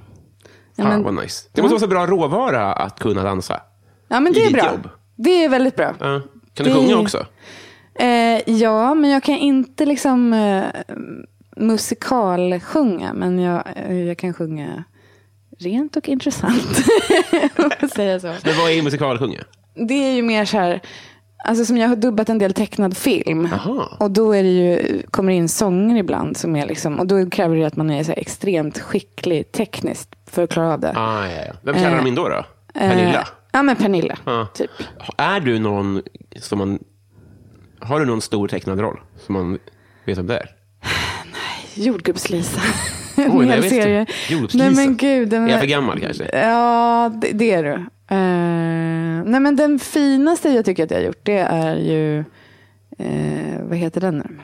Speaker 3: ja,
Speaker 4: Fan
Speaker 3: men,
Speaker 4: vad nice. Det måste vara så bra råvara att kunna dansa.
Speaker 3: ja, men
Speaker 4: i
Speaker 3: det är
Speaker 4: ditt
Speaker 3: bra.
Speaker 4: jobb.
Speaker 3: Det är väldigt bra.
Speaker 4: Ja. Kan du
Speaker 3: Det-
Speaker 4: sjunga också?
Speaker 3: Eh, ja, men jag kan inte liksom eh, musikalsjunga, men jag, eh, jag kan sjunga rent och intressant. Om man säger så.
Speaker 4: Men vad är musikalsjunga?
Speaker 3: Det är ju mer så här, alltså som jag har dubbat en del tecknad film.
Speaker 4: Aha.
Speaker 3: Och då är det ju, kommer det in sånger ibland som är liksom, och då kräver det att man är så här extremt skicklig tekniskt för att klara av det.
Speaker 4: Ah, ja, ja. Vem kallar de in då? då?
Speaker 3: Eh,
Speaker 4: Pernilla?
Speaker 3: ja, men Pernilla.
Speaker 4: Ja.
Speaker 3: Typ.
Speaker 4: Är du någon som man... Har du någon stor tecknad roll som man vet om det är?
Speaker 3: Jordgubbs-Lisa. En
Speaker 4: Oj, nej,
Speaker 3: hel
Speaker 4: jag visste.
Speaker 3: serie.
Speaker 4: Jordgubbs-Lisa.
Speaker 3: Nej men gud. den
Speaker 4: Är jag
Speaker 3: var-
Speaker 4: för gammal kanske?
Speaker 3: Ja, det, det är du. Eh, nej, men den finaste jag tycker att jag har gjort det är ju, eh, vad heter den nu?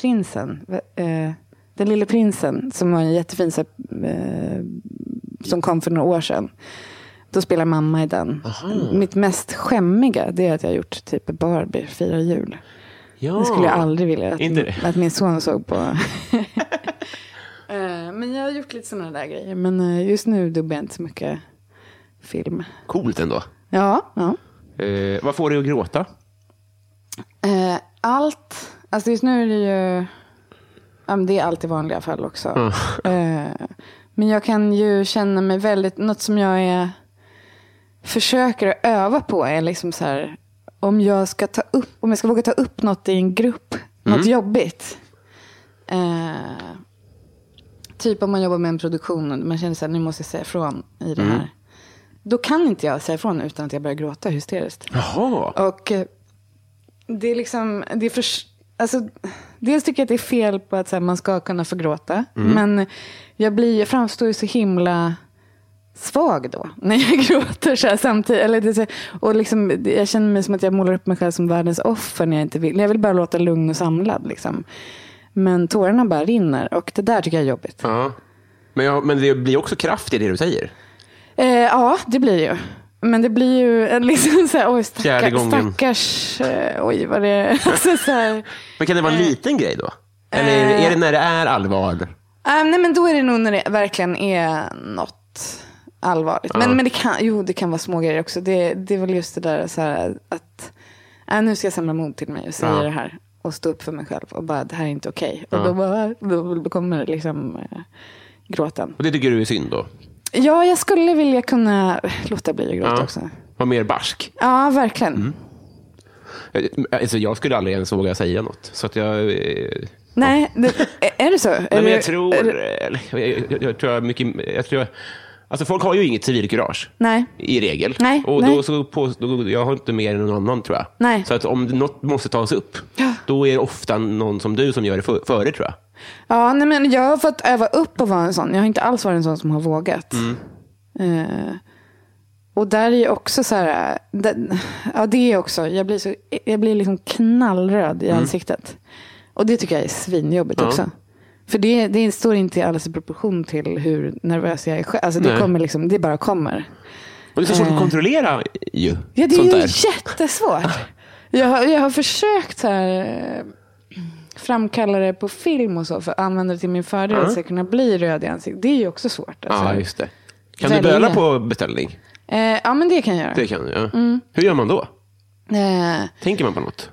Speaker 3: Prinsen. Eh, den lille prinsen som var en jättefin, så här, eh, som kom för några år sedan. Då spelar mamma i den. Mitt mest skämmiga det är att jag har gjort typ Barbie, firar jul.
Speaker 4: Ja.
Speaker 3: Det skulle jag aldrig vilja att,
Speaker 4: Inte det?
Speaker 3: att min son såg på. Eh, men jag har gjort lite sådana där grejer. Men eh, just nu dubbar jag inte så mycket film.
Speaker 4: Coolt ändå.
Speaker 3: Ja, ja.
Speaker 4: Eh, vad får dig att gråta?
Speaker 3: Eh, allt. Alltså just nu är det ju... Ja, men det är allt i vanliga fall också. Eh, men jag kan ju känna mig väldigt... Något som jag är, försöker att öva på är liksom så här... Om jag ska, ta upp, om jag ska våga ta upp något i en grupp, något jobbigt. Eh, typ om man jobbar med en produktion och man känner så här, nu måste jag säga ifrån i det här. Då kan inte jag säga ifrån utan att jag börjar gråta hysteriskt.
Speaker 4: Jaha.
Speaker 3: Och eh, det är liksom, det är för, alltså, dels tycker jag att det är fel på att så här, man ska kunna förgråta.
Speaker 4: Mm.
Speaker 3: Men jag, blir, jag framstår ju så himla svag då. När jag gråter så här samtidigt. Eller det, är så här- och liksom, det- jag känner mig som att jag målar upp mig själv som världens offer när jag inte vill. Jag vill bara låta lugn och samlad. Liksom. Men tårarna bara rinner och det där tycker jag är jobbigt.
Speaker 4: Ja. Men, jag, men det blir också kraft i det du säger.
Speaker 3: Eh, ja, det blir ju. Men det blir ju en liksom så här, oj
Speaker 4: Fjärde
Speaker 3: stackars,
Speaker 4: gången.
Speaker 3: stackars eh, oj vad det är. Alltså, så här,
Speaker 4: Men kan det
Speaker 3: Eh.
Speaker 4: vara en liten grej då? Eller är det- är det när det är allvar?
Speaker 3: Ah, nej, men då är det nog när det verkligen är något allvarligt. Men, men det kan, jo, det kan vara små grejer också. Det, det är väl just det där så här, att ah, nu ska jag samla mod till mig och säga
Speaker 4: Ja.
Speaker 3: det här. Och stå upp för mig själv och bara det här är inte okej. Och då, bara, då kommer liksom eh, gråten.
Speaker 4: Och det tycker du är synd då?
Speaker 3: Ja, jag skulle vilja kunna låta bli att gråta
Speaker 4: Ja. Mm.
Speaker 3: också.
Speaker 4: Var mer barsk.
Speaker 3: Ja, verkligen.
Speaker 4: Eh, Alltså, jag skulle aldrig ens våga säga något. Så att jag... eh,
Speaker 3: Nej, det, är- är det så? Är
Speaker 4: Nej, men jag
Speaker 3: det-
Speaker 4: tror...
Speaker 3: är det-
Speaker 4: eller, Jag, jag, jag tror jag mycket... Jag tror jag, alltså folk har ju inget civilkurage.
Speaker 3: Nej.
Speaker 4: I regel.
Speaker 3: Nej,
Speaker 4: och
Speaker 3: nej.
Speaker 4: Då så på, då, jag har inte mer än någon annan tror jag.
Speaker 3: Nej.
Speaker 4: Så att om något måste tas upp,
Speaker 3: Ja.
Speaker 4: då är det ofta någon som du som gör det för, före tror jag.
Speaker 3: Ja, nej, men jag har fått öva upp att vara en sån. Jag har inte alls varit en sån som har vågat. Eh, och där är ju också så här, eh, det, ja det är också, jag blir, så, jag blir liksom knallröd i ansiktet. Och det tycker jag är svinjobbigt också. För det, det står inte alls i proportion till hur nervös jag är själv. Alltså det,
Speaker 4: Nej.
Speaker 3: kommer liksom, det bara kommer.
Speaker 4: Och det är så svårt
Speaker 3: Eh.
Speaker 4: att kontrollera ju.
Speaker 3: Ja, det är
Speaker 4: sånt
Speaker 3: ju
Speaker 4: där.
Speaker 3: jättesvårt. Jag har, jag har försökt så här, eh, framkalla det på film och så, för att använda det till min fördel, så att jag kunna bli röd i ansiktet. Det är ju också svårt. Alltså.
Speaker 4: Ja, just det. Kan
Speaker 3: Välja.
Speaker 4: du böla på beställning?
Speaker 3: eh, ja, men det kan jag göra.
Speaker 4: Det kan du, ja.
Speaker 3: Mm.
Speaker 4: Hur gör man då?
Speaker 3: Eh,
Speaker 4: Tänker man på något?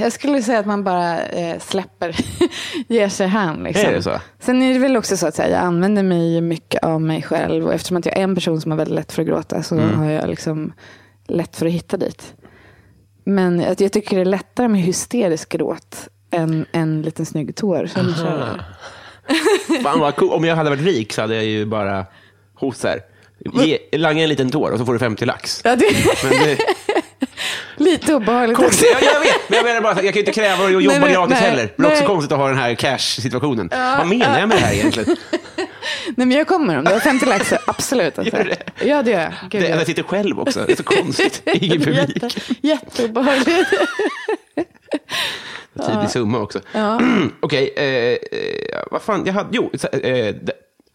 Speaker 3: jag skulle säga att man bara eh, släpper, ger sig hän. Liksom.
Speaker 4: Är det så?
Speaker 3: Sen är det väl också så att så här, jag använder mig ju mycket av mig själv. Och eftersom att jag är en person som har väldigt lätt för att gråta så
Speaker 4: Mm.
Speaker 3: har jag liksom lätt för att hitta dit. Men jag, jag tycker det är lättare med hysterisk gråt än en liten snygg tår. Som kör.
Speaker 4: Fan vad cool. Om jag hade varit rik så hade jag ju bara hos här. Ge, langa en liten tår och så får du 50 lax.
Speaker 3: Ja, det är
Speaker 4: Men det,
Speaker 3: lite obehagligt.
Speaker 4: konstigt, jag, jag vet, men jag menar bara, så här, jag kan ju inte kräva dig att jobba
Speaker 3: Nej, nej,
Speaker 4: gratis
Speaker 3: nej,
Speaker 4: heller. Men det är också
Speaker 3: nej.
Speaker 4: konstigt att ha den här cash-situationen. Vad menar jag med det här egentligen?
Speaker 3: Nej, men jag kommer om det är 50 lax, så absolut. Alltså.
Speaker 4: Gör det?
Speaker 3: Ja, det gör jag. Gud,
Speaker 4: Det,
Speaker 3: ja.
Speaker 4: jag sitter själv också. Det är så konstigt. Ingen publik.
Speaker 3: Jätte, jätteobehagligt.
Speaker 4: Tydlig summa också. Okej, eh, eh, vad fan, jag hade, jo, så- eh, d-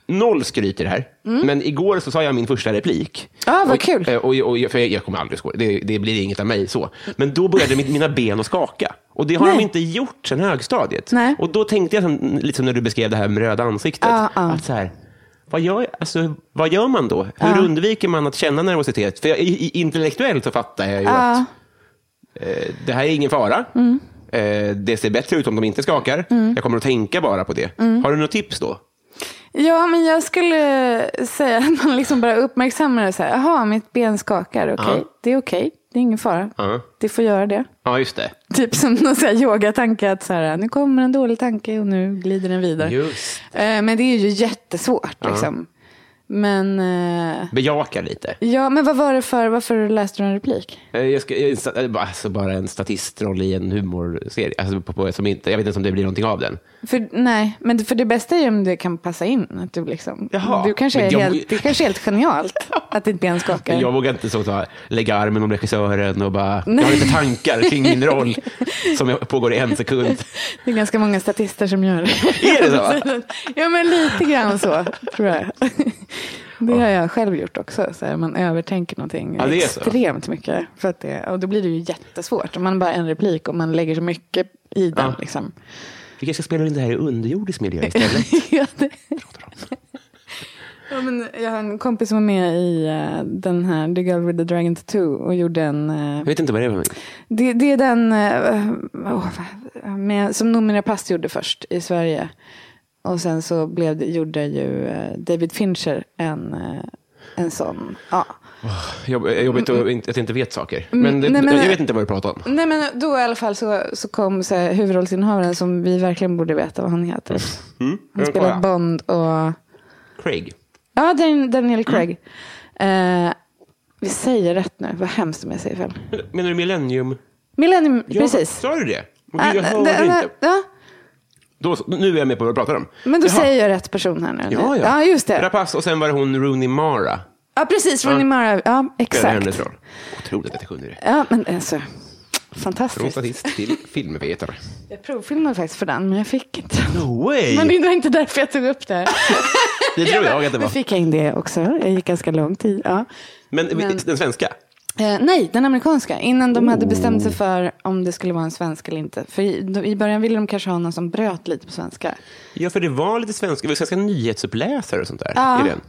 Speaker 4: noll skryt i det här. Men igår så sa jag min första replik.
Speaker 3: Ja, Mm. Ah, vad
Speaker 4: och,
Speaker 3: kul.
Speaker 4: eh, Och, och, jag- för jag, jag kommer aldrig skoja, det, det blir inget av mig så. Men då började mitt, mina ben att skaka. Och det har de
Speaker 3: Nej.
Speaker 4: inte gjort sedan högstadiet.
Speaker 3: Nej.
Speaker 4: Och då tänkte jag, som, lite som när du beskrev det här med röda ansiktet.
Speaker 3: Ja, ja.
Speaker 4: Att så här, vad gör, alltså, vad gör man då? Hur undviker man att känna nervositet? För jag, i, i, intellektuellt så fattar jag ju att Eh, det här är ingen fara. Eh, det ser bättre ut om de inte skakar. Jag kommer att tänka bara på det. Har du något tips då?
Speaker 3: Ja, men jag skulle säga att man liksom bara uppmärksammar det så här. Jaha, mitt ben skakar. Okej,
Speaker 4: Ja.
Speaker 3: det är okej. Det är ingen fara.
Speaker 4: Ja.
Speaker 3: Det får göra det.
Speaker 4: Ja, just det.
Speaker 3: Typ som någon så här yogatanke att så här, nu kommer en dålig tanke och nu glider den vidare.
Speaker 4: Just.
Speaker 3: Eh, Men det är ju jättesvårt. Liksom. Men, eh,
Speaker 4: Bejaka lite.
Speaker 3: ja, men vad var det för, varför läste du en replik?
Speaker 4: Eh, Jag ska, jag, insta- eh, bara- alltså bara en statistroll i en humorserie. Alltså på, på, som inte, jag vet inte om det blir någonting av den.
Speaker 3: För, nej, men för det bästa är ju om det kan passa in. Att du liksom,
Speaker 4: Jaha,
Speaker 3: du kanske
Speaker 4: men
Speaker 3: är
Speaker 4: jag-
Speaker 3: helt, det kanske är helt genialt att ditt ben skakar.
Speaker 4: Men jag vågar inte så, ta, lägga armen om regissören och bara, jag har lite tankar kring min roll som jag pågår i en sekund.
Speaker 3: Det är ganska många statister som gör det.
Speaker 4: Är det så?
Speaker 3: ja, men lite grann så, tror jag. Det har jag själv gjort också. Så här, man övertänker någonting
Speaker 4: Ja, det är så.
Speaker 3: extremt mycket. För att det, och då blir det ju jättesvårt. Om man bara har en replik och man lägger så mycket i den.
Speaker 4: Ja.
Speaker 3: Liksom.
Speaker 4: Vi kanske ska spela in det här i underjordisk miljö istället.
Speaker 3: ja, det... ja, men jag har en kompis som var med i eh, den här The Girl with the Dragon Tattoo och gjorde en... eh,
Speaker 4: Jag vet inte vad det är. för någonting.
Speaker 3: det, det är den eh, åh, vad- med, som Noomi Rapace gjorde först i Sverige. Och sen så blev det, gjorde ju eh, David Fincher en, eh, en sån. Ja.
Speaker 4: Jobb- eh, Jobbigt att inte- att inte vet saker. Men, det,
Speaker 3: Mm, nej, men-
Speaker 4: jag vet inte vad du pratar om.
Speaker 3: Nej men då i alla fall så, så kom så här, huvudrollsinnehavaren som vi verkligen borde veta vad han heter. Han
Speaker 4: den kollar
Speaker 3: spelar
Speaker 4: Mm. jag.
Speaker 3: Bond och
Speaker 4: Craig.
Speaker 3: ja, Dan- Daniel Craig. Eh, vi säger rätt nu, vad hemskt om jag säger fel.
Speaker 4: Menar du millennium?
Speaker 3: Millennium,
Speaker 4: Ja,
Speaker 3: precis.
Speaker 4: Sa du det? Men
Speaker 3: Ah,
Speaker 4: Jag
Speaker 3: det-
Speaker 4: hörde inte.
Speaker 3: ja.
Speaker 4: Då, så- nu är jag med på vad du pratar om.
Speaker 3: Men då
Speaker 4: Jaha.
Speaker 3: säger jag rätt person här nu.
Speaker 4: Ja, ja.
Speaker 3: ja just det.
Speaker 4: Rapace och sen var det hon Rooney Mara.
Speaker 3: Ja, precis. Rooney Mara. Ja,
Speaker 4: Spelade
Speaker 3: exakt.
Speaker 4: hennes roll. Otroligt att jag kunde det.
Speaker 3: Ja, men alltså.
Speaker 4: Från
Speaker 3: Fantastiskt.
Speaker 4: statist till filmvetare.
Speaker 3: Jag provfilmade faktiskt för den, men jag fick inte.
Speaker 4: No way!
Speaker 3: Men det var inte därför jag tog upp det.
Speaker 4: det tror jag att det
Speaker 3: Nu
Speaker 4: var.
Speaker 3: fick jag in det också. Jag gick ganska lång tid. Ja.
Speaker 4: Men, den svenska?
Speaker 3: Eh, nej, den amerikanska. Innan de hade bestämt sig för om det skulle vara en svensk eller inte. För i, då- i början ville de kanske ha någon som bröt lite på svenska.
Speaker 4: Ja, för det var lite svenska, det var svenska nyhetsuppläsare och sånt där
Speaker 3: Ja.
Speaker 4: i den.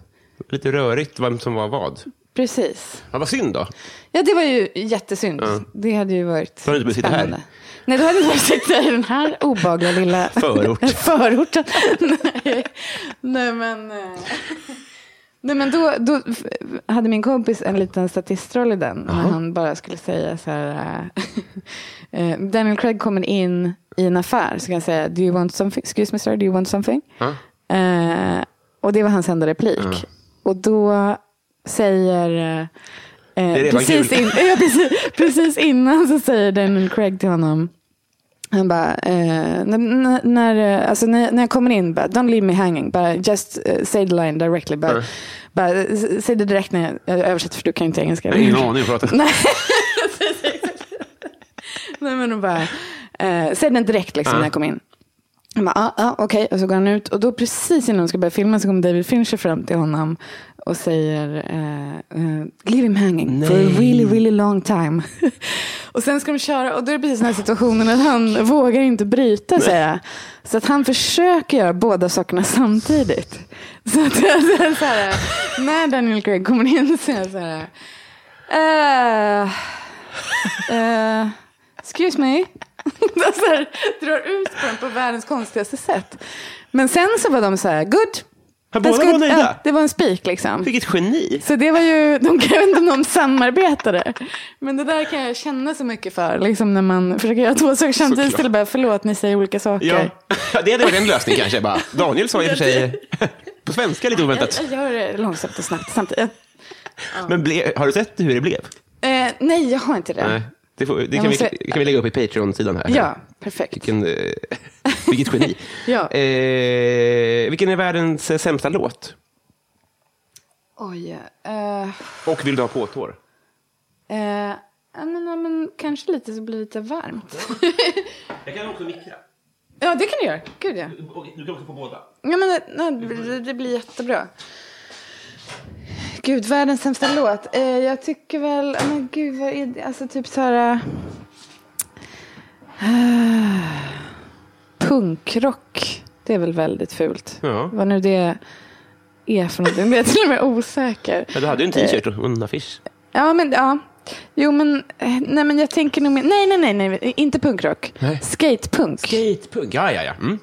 Speaker 4: Lite rörigt vem som var vad.
Speaker 3: Precis.
Speaker 4: Ja, vad synd då.
Speaker 3: Ja, det var ju jättesynd. Det hade ju varit
Speaker 4: Då hade du inte behövt sitta här.
Speaker 3: Nej, då hade du suttit här i den här obagliga lilla
Speaker 4: Förort.
Speaker 3: förorten. Nej. Nej, men, eh. Nej, men då, då f- hade min kompis en liten statistroll i den. När han bara skulle säga så här. eh, eh, Daniel Craig kommer in i en affär. Så kan han säga, do you want something? Excuse me sir, do you want something? Eh, och det var hans enda replik. Och då säger... eh,
Speaker 4: är redan
Speaker 3: precis,
Speaker 4: kul.
Speaker 3: in, ja, precis, precis innan så säger Daniel Craig till honom. Han bara, eh, när, när- när, eh, alltså när, när jag kommer in, bara, don't leave me hanging, bara just eh, say the line directly. Bara, bara, s- säg det direkt när jag, jag översätter för du kan ju inte engelska.
Speaker 4: Ingen aning vad jag pratar om.
Speaker 3: Nej men och bara, eh, säg den direkt liksom när jag kom in. Han bara, ah, ah, okej, och så går han ut. Och då precis innan de ska börja filma så kommer David Fincher fram till honom och säger, eh, eh, leave him hanging for a really, really long time. och sen ska de köra, och då är det precis den här situationen att han vågar inte bryta, säger jag. Så att han försöker göra båda sakerna samtidigt. Så att så här, när Daniel Craig kommer in så är jag så här, eh, Eh, excuse me. De så här, drar ut på den på världens konstigaste sätt. Men sen så var de så här, good.
Speaker 4: Ja,
Speaker 3: That's
Speaker 4: båda
Speaker 3: good.
Speaker 4: var nöjda.
Speaker 3: Ja, det var en spik liksom.
Speaker 4: Vilket geni!
Speaker 3: Så det var ju, de kan ju inte om de samarbetade. Men det där kan jag känna så mycket för. Liksom när man försöker göra två saker samtidigt.
Speaker 4: Såklart.
Speaker 3: Eller bara, förlåt, ni säger olika saker.
Speaker 4: Ja. ja, det hade varit en lösning kanske. Bara. Daniel sa i och för sig på svenska lite
Speaker 3: Jag,
Speaker 4: oväntat.
Speaker 3: jag gör det långsamt och snabbt samtidigt.
Speaker 4: Men ble, har du sett hur det blev?
Speaker 3: Eh, nej, jag har inte det.
Speaker 4: Nej. Det, får, det
Speaker 3: Jag
Speaker 4: kan,
Speaker 3: måste-
Speaker 4: vi, kan vi lägga upp i Patreon-sidan här.
Speaker 3: Ja, perfekt.
Speaker 4: Vilken, eh, vilket geni.
Speaker 3: Ja.
Speaker 4: eh, vilken är världens eh, sämsta låt?
Speaker 3: Oj. Eh,
Speaker 4: Och vill du ha påtår?
Speaker 3: eh, ja, men, ja, men, kanske lite så blir det lite varmt.
Speaker 4: Jag kan också mikra.
Speaker 3: Ja, det kan du göra. Gud, ja.
Speaker 4: Du kan också få båda.
Speaker 3: Ja, men det, nej, det, det blir jättebra. Gud, världens sämsta låt. Eh, jag tycker väl, ja, men gud vad är det? Alltså typ så här... eh, punkrock. Det är väl väldigt fult.
Speaker 4: Ja.
Speaker 3: Vad nu det är för någonting. Jag är till och med osäker.
Speaker 4: Ja, du hade ju en
Speaker 3: Eh,
Speaker 4: t-shirt och en affisch.
Speaker 3: Ja, men ja. Jo, men, eh, nej, men jag tänker nog mer. Nej, nej, nej, nej, inte punkrock.
Speaker 4: Nej.
Speaker 3: Skatepunk.
Speaker 4: Skatepunk. Ja, ja, ja. Mm.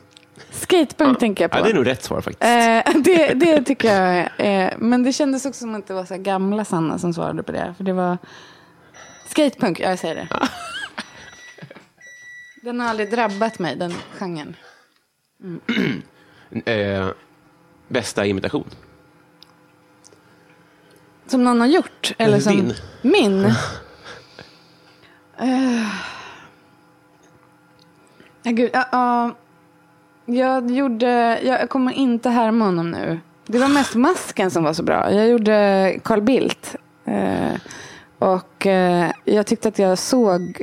Speaker 3: Skatepunk tänker jag på.
Speaker 4: ja. Det är nog rätt svar faktiskt.
Speaker 3: Eh, det, det tycker jag. Eh, men det kändes också som att det var så här gamla Sanna som svarade på det. För det var skatepunk, ja, jag säger det. Den har aldrig drabbat mig, den genren.
Speaker 4: Eh, bästa imitation.
Speaker 3: Som någon har gjort? Eller som
Speaker 4: Din.
Speaker 3: Min? Eh. Ja, gud. ja, ja. jag gjorde... Jag kommer inte härma honom nu. Det var mest masken som var så bra. Jag gjorde Carl Bildt. Eh, och eh, jag tyckte att jag såg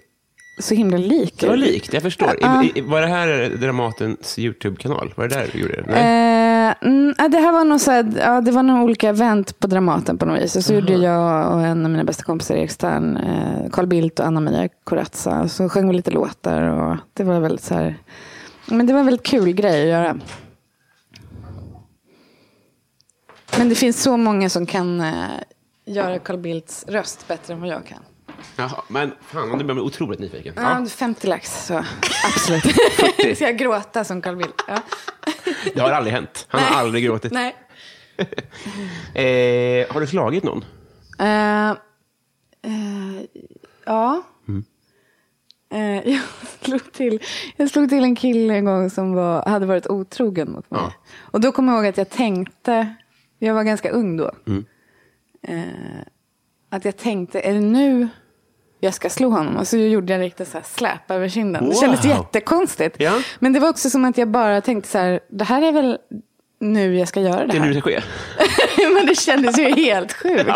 Speaker 3: så himla lik
Speaker 4: Det var
Speaker 3: ut.
Speaker 4: likt, jag förstår.
Speaker 3: Ja.
Speaker 4: I, i, var det här Dramatens YouTube-kanal? Var det där du gjorde det? Nej.
Speaker 3: Eh, mm, ja, det här var nog så här, ja, det var nog olika event på Dramaten på något vis. Och så gjorde jag och en av mina bästa kompisar Erik Stern, eh, Carl Bildt och Anna-Maria Corazza. Så sjöng vi lite låtar och det var väldigt så här, men det var en väldigt kul grej att göra. Men det finns så många som kan eh, göra Carl Bildts röst bättre än vad jag kan.
Speaker 4: Jaha, men fan, nu blir jag otroligt nyfiken.
Speaker 3: Ja.
Speaker 4: Ja.
Speaker 3: 50 lax, så absolut. Ska jag gråta som Carl Bildt? Ja.
Speaker 4: Det har aldrig hänt. Han har
Speaker 3: Nej.
Speaker 4: aldrig gråtit.
Speaker 3: Nej.
Speaker 4: Eh, har du slagit någon?
Speaker 3: Eh, eh, ja.
Speaker 4: Mm.
Speaker 3: Eh, jag, slog till, jag slog till en kille en gång som var, hade varit otrogen mot mig.
Speaker 4: Ja.
Speaker 3: Och då kom jag ihåg att jag tänkte, jag var ganska ung då.
Speaker 4: Mm.
Speaker 3: Eh, att jag tänkte, är det nu jag ska slå honom? Och så gjorde jag en riktig så här släp över kinden. Det kändes
Speaker 4: Wow.
Speaker 3: jättekonstigt.
Speaker 4: Ja.
Speaker 3: Men det var också som att jag bara tänkte så här, det här är väl nu jag ska göra det
Speaker 4: Det är
Speaker 3: här.
Speaker 4: nu det ska ske.
Speaker 3: Men det kändes ju helt sjukt.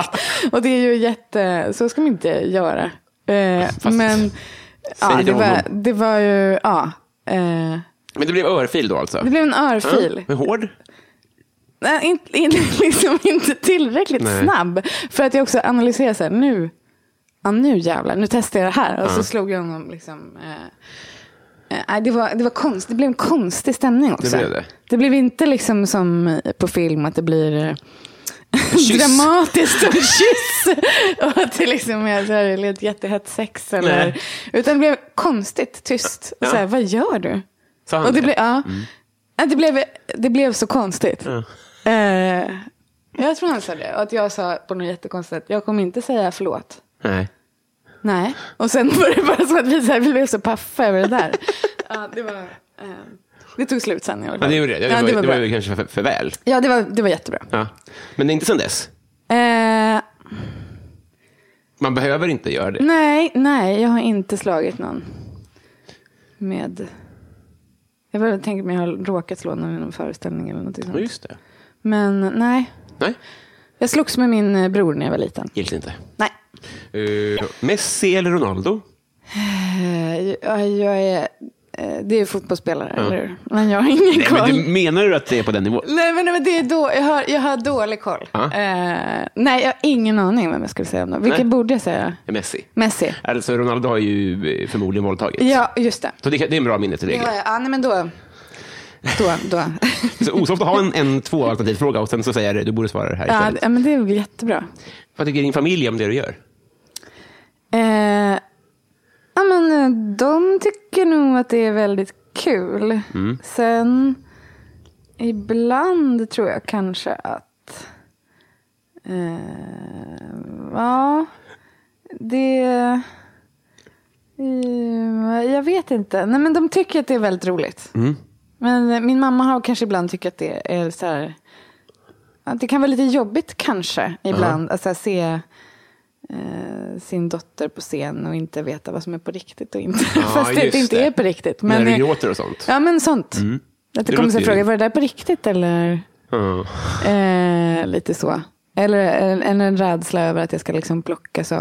Speaker 3: Och det är ju jätte, så ska man inte göra. Eh,
Speaker 4: Fast-
Speaker 3: men ja,
Speaker 4: det
Speaker 3: det, var,
Speaker 4: honom.
Speaker 3: det var ju, ja. Eh,
Speaker 4: Men det blev örfil då alltså?
Speaker 3: det blev en örfil.
Speaker 4: Men hård?
Speaker 3: Nej, inte, inte, liksom inte tillräckligt
Speaker 4: Nej.
Speaker 3: snabb. För att jag också analyserade så här, nu, ja, nu jävlar, nu testar jag det här. Och så slog jag honom liksom. Eh, eh, nej, det, var, det, var konst, det blev en konstig stämning också.
Speaker 4: blev det.
Speaker 3: det blev inte liksom som på film att det blir eh,
Speaker 4: kyss.
Speaker 3: dramatiskt och en kyss. och att det liksom är så här, eller ett jättehett sex. Eller,
Speaker 4: Nej.
Speaker 3: utan det blev konstigt tyst. Och så här, vad gör du?
Speaker 4: Sa han
Speaker 3: Och det,
Speaker 4: det?
Speaker 3: blev, ja.
Speaker 4: Mm.
Speaker 3: Ja, det, blev, det blev så konstigt. Eh, jag tror han sa det. Och att jag sa på något jättekonstigt sätt, jag kommer inte säga förlåt.
Speaker 4: Nej.
Speaker 3: Nej. Och sen var det bara så att vi, så här, vi blev så paffa över det där. ja, det, var, eh, det tog slut sen i alla
Speaker 4: Ja,
Speaker 3: fall.
Speaker 4: det gjorde det. Det var,
Speaker 3: ja, det var,
Speaker 4: det
Speaker 3: bra.
Speaker 4: var ju kanske för, för väl.
Speaker 3: Ja, det var, det var jättebra.
Speaker 4: Ja. Men det är inte sen dess.
Speaker 3: Eh,
Speaker 4: Man behöver inte göra det.
Speaker 3: nej, nej, jag har inte slagit någon. Med... Jag bara tänker mig att jag har råkat slå någon i någon föreställning eller något
Speaker 4: Ja,
Speaker 3: sånt.
Speaker 4: just det.
Speaker 3: Men nej.
Speaker 4: Nej,
Speaker 3: Jag slogs med min eh, bror när jag var liten.
Speaker 4: gills inte.
Speaker 3: Nej.
Speaker 4: Eh, Messi eller Ronaldo?
Speaker 3: Eh, Jag, jag är, eh, det är ju fotbollsspelare, eller hur? Men jag har ingen
Speaker 4: Nej,
Speaker 3: koll.
Speaker 4: men du, menar du att det är på den nivån?
Speaker 3: Nej, men, nej, men det är då, jag, har, jag har dålig koll.
Speaker 4: Ja.
Speaker 3: Eh, nej, jag har ingen aning vem jag skulle säga om dem. Vilken
Speaker 4: Nej.
Speaker 3: borde jag säga?
Speaker 4: Messi.
Speaker 3: Messi.
Speaker 4: Alltså, Ronaldo har ju eh, förmodligen våldtagit.
Speaker 3: Ja, just det.
Speaker 4: Så det, kan- det är en bra minnesregel.
Speaker 3: Det har jag. Ja, nej, men då. Då, då.
Speaker 4: Så osoft att ha en, en två alternativ fråga och sen så säger jag du borde svara det här
Speaker 3: ja,
Speaker 4: istället.
Speaker 3: ja, men det är väl jättebra.
Speaker 4: Vad tycker din familj om det du gör?
Speaker 3: Eh, ja, men eh, de tycker nog att det är väldigt kul.
Speaker 4: Mm.
Speaker 3: Sen ibland tror jag kanske att... Eh, ja, det... Eh, Jag vet inte. Nej, men de tycker att det är väldigt roligt.
Speaker 4: Mm.
Speaker 3: Men eh, min mamma har kanske ibland tyckt att det är så här... att Det kan vara lite jobbigt kanske ibland att så här, se eh, sin dotter på scen och inte veta vad som är på riktigt och inte. Fast det
Speaker 4: just
Speaker 3: inte
Speaker 4: det.
Speaker 3: är på riktigt.
Speaker 4: När du
Speaker 3: eh,
Speaker 4: gråter och sånt?
Speaker 3: Ja, men sånt. Att det,
Speaker 4: Mm. Det
Speaker 3: kommer
Speaker 4: låter
Speaker 3: sig
Speaker 4: ju-
Speaker 3: fråga, var det där på riktigt eller?
Speaker 4: Ja.
Speaker 3: Eh, lite så. Eller en, en, en rädsla över att jag ska liksom plockas av.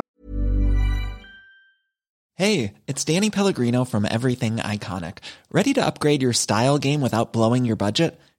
Speaker 5: Hey, it's Danny Pellegrino from Everything Iconic. Ready to upgrade your style game without blowing your budget?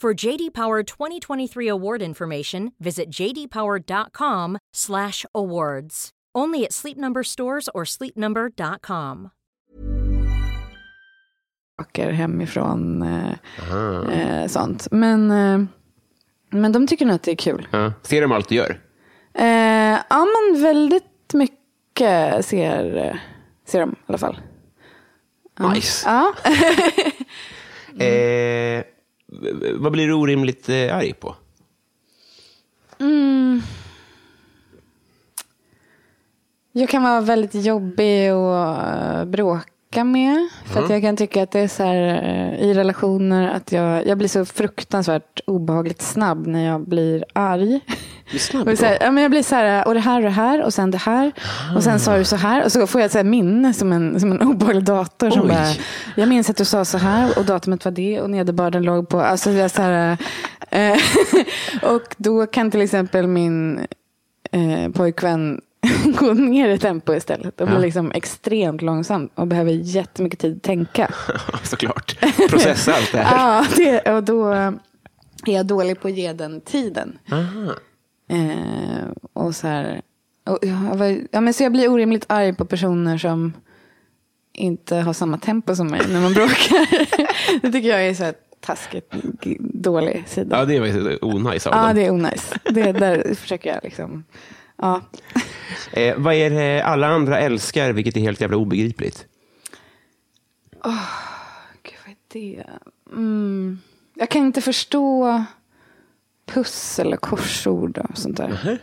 Speaker 1: For JD Power 2023 award information, visit jdpower.com/awards. Only at Sleep Number stores or sleepnumber.com.
Speaker 3: saker hemifrån. Eh, eh, sånt. Men, eh, men de tycker nog att det är kul.
Speaker 4: Ja. Ser de allt du gör?
Speaker 3: Eh, ja, men väldigt mycket ser, eh, ser de i alla fall.
Speaker 4: Nice.
Speaker 3: Ja.
Speaker 4: Eh, v- vad blir du orimligt eh, arg på?
Speaker 3: Jag kan vara väldigt jobbig och eh, bråka med. För
Speaker 4: Mm.
Speaker 3: att jag kan tycka att det är så här eh, i relationer att jag, jag blir så fruktansvärt obehagligt snabb när jag blir arg.
Speaker 4: snabb
Speaker 3: och, så här, ja, men jag blir så här, eh, och det här och det här och sen det här. Och sen
Speaker 4: Ah.
Speaker 3: sa du så här. Och så får jag så här minne som en, som en obehaglig dator. Som
Speaker 4: Oj.
Speaker 3: bara, Eh, jag minns att du sa så här och datumet var det och nederbörden låg på. Alltså jag så här, eh, och då kan till exempel min eh, pojkvän gå ner i tempo istället och blir liksom extremt långsam och behöver jättemycket tid att tänka.
Speaker 4: Såklart. Processa allt det här.
Speaker 3: ja, det, och då eh, är jag dålig på att ge den tiden. Eh, och så här, och jag, var, ja, men så jag blir orimligt arg på personer som inte har samma tempo som mig när man bråkar. det tycker jag är så här taskigt g- dålig sida.
Speaker 4: Ja, det var ju onajs av
Speaker 3: Ja,
Speaker 4: dem.
Speaker 3: det är onajs. Det, där försöker jag liksom. Ja.
Speaker 4: Eh, vad är det alla andra älskar, vilket är helt jävla obegripligt?
Speaker 3: Gud, vad är det? Mm. Jag kan inte förstå pussel och korsord och sånt där.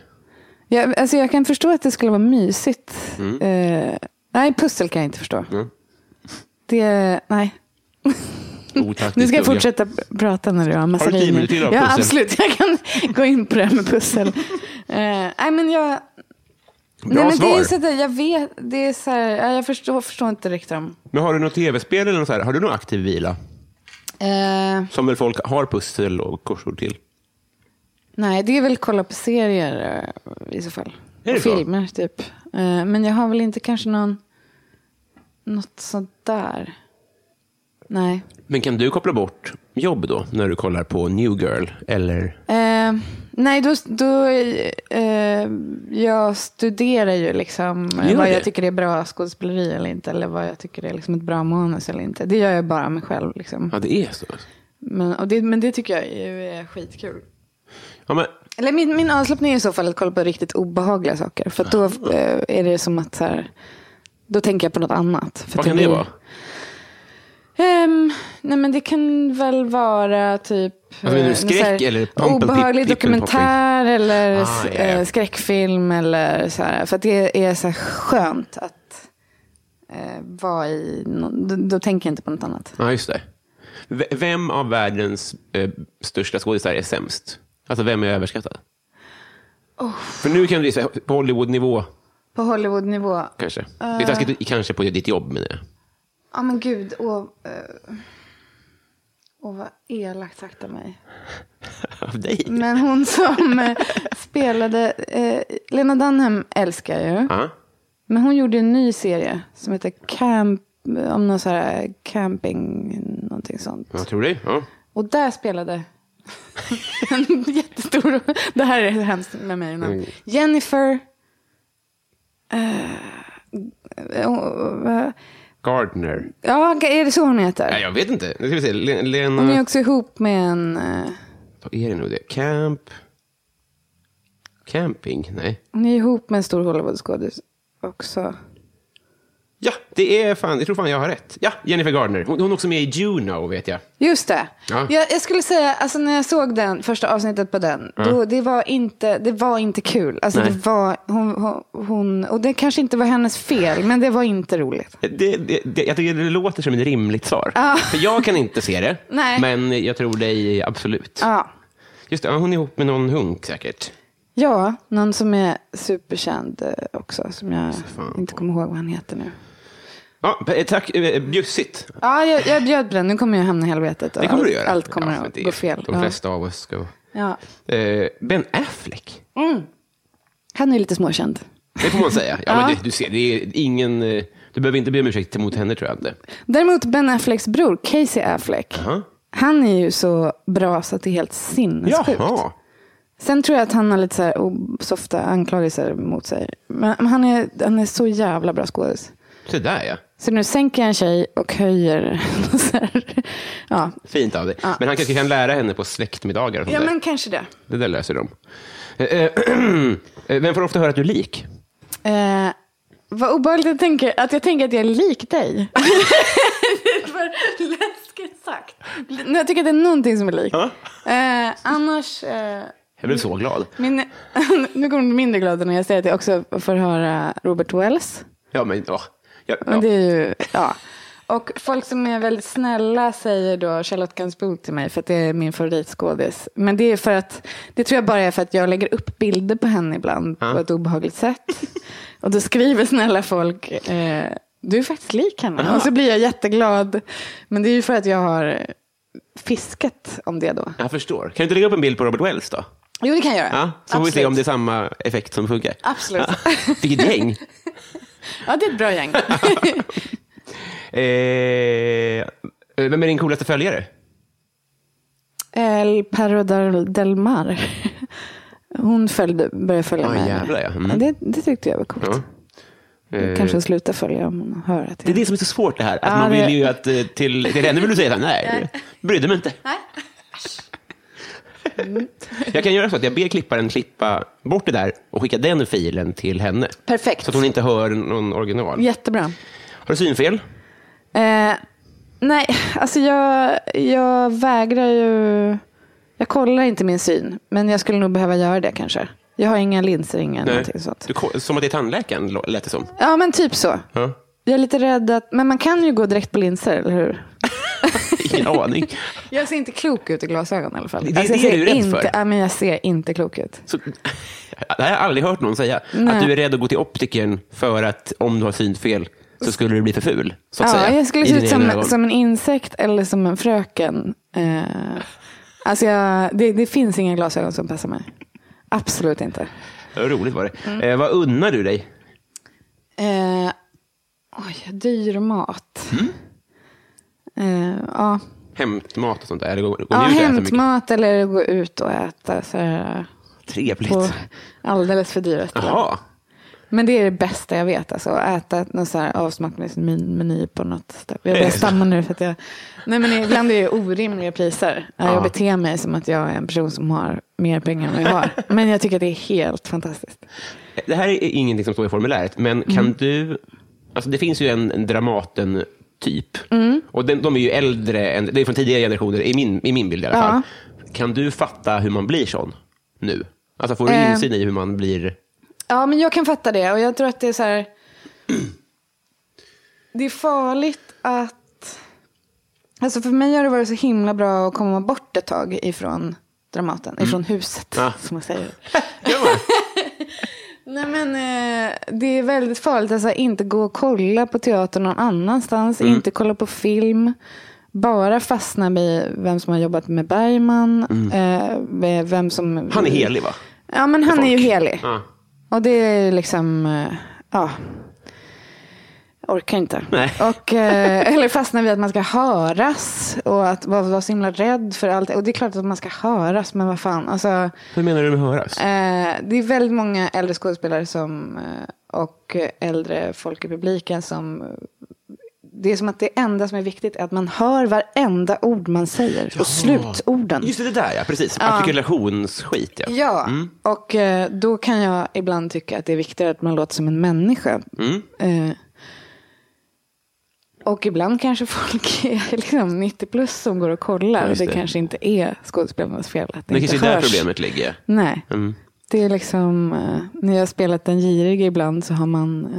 Speaker 3: Jag, alltså jag kan förstå att det skulle vara mysigt.
Speaker 4: Mm.
Speaker 3: Eh, nej, pussel kan jag inte förstå. Det, nej.
Speaker 4: Otaktisk
Speaker 3: Nu ska jag
Speaker 4: plugga.
Speaker 3: fortsätta prata när du har massa
Speaker 4: Har du tio
Speaker 3: linjer.
Speaker 4: minuter till av
Speaker 3: Ja,
Speaker 4: pussel?
Speaker 3: absolut. Jag kan gå in på det här med pussel. Eh, nej, men jag...
Speaker 4: Bra
Speaker 3: nej, men
Speaker 4: svar.
Speaker 3: Det är så att jag vet, det är så här, ja, jag förstår, förstår inte riktigt dem.
Speaker 4: Men har du något tv-spel eller något så här? Har du någon aktiv vila?
Speaker 3: Eh,
Speaker 4: Som väl folk har pussel och korsord till?
Speaker 3: Nej, det är väl kolla på serier eh, i så fall.
Speaker 4: Är det
Speaker 3: Och
Speaker 4: så?
Speaker 3: Filmer typ. Eh, Men jag har väl inte kanske någon... Något sånt där. Nej.
Speaker 4: Men kan du koppla bort jobb då, när du kollar på New Girl? Eller?
Speaker 3: Eh, nej, då, då eh, jag studerar ju liksom eh,
Speaker 4: Gör
Speaker 3: vad
Speaker 4: det?
Speaker 3: jag tycker är bra skådespeleri eller inte. Eller vad jag tycker är liksom ett bra manus eller inte. Det gör jag bara mig själv. Liksom.
Speaker 4: Ja, det är så.
Speaker 3: Men, och det, men det tycker jag är, är skitkul.
Speaker 4: Ja, men,
Speaker 3: Eller min, min avslappning är i så fall att kolla på riktigt obehagliga saker. För att då eh, är det som att så här, då tänker jag på något annat. För att
Speaker 4: vad
Speaker 3: jag
Speaker 4: kan det
Speaker 3: blir-
Speaker 4: vara?
Speaker 3: Ehm, nej men det kan väl vara typ
Speaker 4: menar du,
Speaker 3: eh,
Speaker 4: skräck
Speaker 3: så här
Speaker 4: eller pump and
Speaker 3: obehaglig
Speaker 4: pip- pip and
Speaker 3: dokumentär eller s-
Speaker 4: Ah, ja, ja.
Speaker 3: eh, skräckfilm. Eller så här, för att det är så här skönt att eh, vara i, nå- då, då tänker jag inte på något annat.
Speaker 4: Ja, just det. V- Vem av världens eh, största skådisar är sämst? Alltså, vem är överskattad? För nu kan du säga på Hollywood-nivå,
Speaker 3: På Hollywoodnivå.
Speaker 4: kanske. Det
Speaker 3: Eh.
Speaker 4: är taskigt, kanske på ditt jobb, menar jag.
Speaker 3: Ja men gud, åh, eh, åh vad elakt sagt av mig.
Speaker 4: Av dig?
Speaker 3: Men hon som eh, spelade, eh, Lena Dunham älskar jag ju.
Speaker 4: Ja.
Speaker 3: Men hon gjorde en ny serie som heter Camp, om någon så här eh, camping, någonting sånt.
Speaker 4: Jag tror det. Ja.
Speaker 3: Och där spelade en jättestor, det här är hemskt med mig nu.
Speaker 4: Mm.
Speaker 3: Jennifer, eh, och- och-
Speaker 4: Gardner.
Speaker 3: ja är det så hon heter?
Speaker 4: Nej, jag vet inte. Nu ska vi se. Le- Lena...
Speaker 3: Hon är också ihop med en, eh,
Speaker 4: Vad är det nu det? Camp... Camping? Nej.
Speaker 3: hon är ihop med en stor Hollywoodskådis också.
Speaker 4: Ja, det är fan, jag tror fan jag har rätt. Ja, Jennifer Gardner. Hon, hon är också med i Juno, vet jag.
Speaker 3: Just det.
Speaker 4: Ja.
Speaker 3: Jag, jag skulle säga, alltså när jag såg den, första avsnittet på den, då, det, var inte, det var inte kul. Alltså
Speaker 4: Nej.
Speaker 3: det var, hon, hon, hon, och det kanske inte var hennes fel, men det var inte roligt.
Speaker 4: Det, det, det, jag tycker det låter som ett rimligt svar. För jag kan inte se det,
Speaker 3: Ah. Nej. Ah.
Speaker 4: men jag tror dig absolut.
Speaker 3: Ja.
Speaker 4: Just det, ja, hon är ihop med någon hunk säkert.
Speaker 3: ja, någon som är superkänd eh, också, som jag inte kommer ihåg vad han heter nu.
Speaker 4: Ja, p- tack, eh, bjussigt.
Speaker 3: Ja, jag, jag bjöd på den. Nu kommer jag hamna i helvetet. och
Speaker 4: Det kommer
Speaker 3: allt,
Speaker 4: du göra.
Speaker 3: Allt kommer
Speaker 4: Ja, men
Speaker 3: att
Speaker 4: det är-
Speaker 3: gå fel.
Speaker 4: De
Speaker 3: Ja.
Speaker 4: flesta av oss ska
Speaker 3: Ja.
Speaker 4: Eh, ben Affleck,
Speaker 3: Han är ju lite småkänd.
Speaker 4: det får man säga. Ja,
Speaker 3: Ja.
Speaker 4: Men det, du ser, det är ingen... eh, Du behöver inte be om ursäkt mot henne, tror jag inte.
Speaker 3: Däremot Ben Afflecks bror, Casey Affleck. Han är ju så bra så att det är helt sinnessjukt.
Speaker 4: Jaha.
Speaker 3: Sen tror jag att han har lite så här osofta anklagelser mot sig. Men men han är, han är så jävla bra skådis.
Speaker 4: Så där, ja.
Speaker 3: Så nu sänker jag en tjej och höjer. så här. ja.
Speaker 4: Fint av dig. Men han kanske kan lära henne på släktmiddagar. och sånt
Speaker 3: ja,
Speaker 4: där.
Speaker 3: men kanske det.
Speaker 4: Det där löser de. Eh, eh, eh, Vem får ofta höra att du är lik?
Speaker 3: Eh, vad obehagligt jag tänker, att jag tänker att jag är lik dig. det var läskigt sagt. Nu, jag tycker att det är någonting som är likt. Eh, annars... Eh,
Speaker 4: Jag blev så glad.
Speaker 3: min, nu kommer du mindre glad när jag säger att jag också får höra Robert Wells.
Speaker 4: Ja, men, åh. ja, ja.
Speaker 3: Men det är ju, ja. Och folk som är väldigt snälla säger då Charlotte Gainsbourg till mig för att det är min favoritskådis. Men det är för att, det tror jag bara är för att jag lägger upp bilder på henne ibland på ett obehagligt sätt. Och då skriver snälla folk, eh, du är faktiskt lik henne. Och så blir jag jätteglad. Men det är ju för att jag har fiskat om det då.
Speaker 4: Jag förstår. Kan du inte lägga upp en bild på Robert Wells då?
Speaker 3: Jo, det kan jag göra.
Speaker 4: Ja, så får vi se
Speaker 3: Absolut.
Speaker 4: om det är samma effekt som funkar.
Speaker 3: Absolut.
Speaker 4: Vilket gäng.
Speaker 3: Ja, det är ett bra gäng.
Speaker 4: Eh, vem är din coolaste följare?
Speaker 3: El Perro del, del Mar. Hon följde, började följa
Speaker 4: Ja,
Speaker 3: mig.
Speaker 4: jävlar, ja. Mm.
Speaker 3: Det, det tyckte jag var coolt.
Speaker 4: Ja. Eh,
Speaker 3: Kanske att sluta följa om hon hör att
Speaker 4: Det är
Speaker 3: jag...
Speaker 4: det som är så svårt det här. Att
Speaker 3: Ja,
Speaker 4: man
Speaker 3: det-
Speaker 4: vill ju att eh, till, till henne vill du säga så här, nej, brydde mig inte. Mm. Jag kan göra så att jag ber klipparen klippa bort det där och skicka den filen till henne.
Speaker 3: Perfekt.
Speaker 4: Så att hon inte hör någon original.
Speaker 3: Jättebra.
Speaker 4: Har du synfel?
Speaker 3: Eh, nej, alltså jag, jag vägrar ju... Jag kollar inte min syn, men jag skulle nog behöva göra det kanske. Jag har inga linser, inga någonting sånt.
Speaker 4: Du, ko- som att det är tandläkaren, lå- lät det som.
Speaker 3: Ja, men typ så.
Speaker 4: Ja.
Speaker 3: Jag är lite rädd att... Men man kan ju gå direkt på linser, eller hur?
Speaker 4: Ingen aning.
Speaker 3: Jag ser inte klok ut i glasögon i alla fall.
Speaker 4: Det-
Speaker 3: alltså, jag
Speaker 4: det är
Speaker 3: ser
Speaker 4: du rädd
Speaker 3: inte,
Speaker 4: för.
Speaker 3: Ja, men jag ser inte klok ut.
Speaker 4: Så, det har jag aldrig hört någon säga.
Speaker 3: Nej.
Speaker 4: Att du är rädd att gå till optikern för att om du har synfel så skulle du bli för ful. Så att
Speaker 3: ja,
Speaker 4: säga,
Speaker 3: jag skulle
Speaker 4: i
Speaker 3: se
Speaker 4: dina
Speaker 3: ut
Speaker 4: egna
Speaker 3: som,
Speaker 4: ögon.
Speaker 3: som en insekt eller som en fröken. Eh, alltså jag, det, det finns inga glasögon som passar mig. Absolut inte.
Speaker 4: Ja, Roligt var det. Eh, vad unnar du dig?
Speaker 3: Eh, oj, dyr mat.
Speaker 4: Mm.
Speaker 3: Eh, ja,
Speaker 4: Hämtmat och sånt där? Eller går, går
Speaker 3: ja
Speaker 4: ni ut och äter mycket?
Speaker 3: hämtmat eller gå ut och äta så här,
Speaker 4: Trevligt.
Speaker 3: på alldeles för dyra ställen.
Speaker 4: Jaha.
Speaker 3: Men det är det bästa jag vet. Alltså, att äta någon så här avsmakningsmeny på något ställe. Jag börjar stamma nu för att jag... Nej, men ibland är det orimliga priser. Ja, Jag beter mig som att jag är en person som har mer pengar än vad jag har. Men jag tycker att det är helt fantastiskt.
Speaker 4: Det här är ingenting som står i formuläret, men kan
Speaker 3: Mm.
Speaker 4: du... Alltså det finns ju en, en Dramaten-typ.
Speaker 3: Mm.
Speaker 4: Och den, de är ju äldre, än, det är från tidigare generationer, i min, i min bild i alla fall. Kan du fatta hur man blir sån nu? Alltså får du
Speaker 3: Eh.
Speaker 4: insyn i hur man blir...
Speaker 3: Ja, men jag kan fatta det. Och jag tror att det är så här... Det är farligt att... Alltså för mig har det varit så himla bra att komma bort ett tag ifrån Dramaten, ifrån huset,
Speaker 4: Mm. Ja.
Speaker 3: som man säger.
Speaker 4: Gör man?
Speaker 3: Nej men eh, det är väldigt farligt. Alltså, inte gå och kolla på teater någon annanstans.
Speaker 4: Mm.
Speaker 3: Inte kolla på film. Bara fastna vid vem som har jobbat med Bergman. eh, med vem som...
Speaker 4: Mm. Han är helig, va?
Speaker 3: Ja men han är ju helig.
Speaker 4: Ja.
Speaker 3: Och det är liksom... eh, Ja. Orkar inte.
Speaker 4: Nej.
Speaker 3: Och, eh, eller fastna vid att man ska höras. Och att vara, vara så himla rädd för allt. Och det är klart att man ska höras. Men vad fan. Alltså,
Speaker 4: Hur menar du med höras?
Speaker 3: Eh, det är väldigt många äldre skådespelare som, eh, och äldre folk i publiken som... eh, Det är som att det enda som är viktigt är att man hör varenda ord man säger. Och slutorden.
Speaker 4: Just det, det där ja, precis. Artikulationsskit ja. Mm.
Speaker 3: Ja, och eh, då kan jag ibland tycka att det är viktigare att man låter som en människa.
Speaker 4: Mm.
Speaker 3: Eh, och ibland kanske folk är liksom 90 plus som går och kollar.
Speaker 4: Ja, just
Speaker 3: det.
Speaker 4: det.
Speaker 3: kanske inte är skådespelarnas fel att det,
Speaker 4: Det
Speaker 3: inte
Speaker 4: kanske är där
Speaker 3: hörs.
Speaker 4: problemet ligger.
Speaker 3: Nej. Det är liksom, eh, när jag har spelat den girige ibland så har man,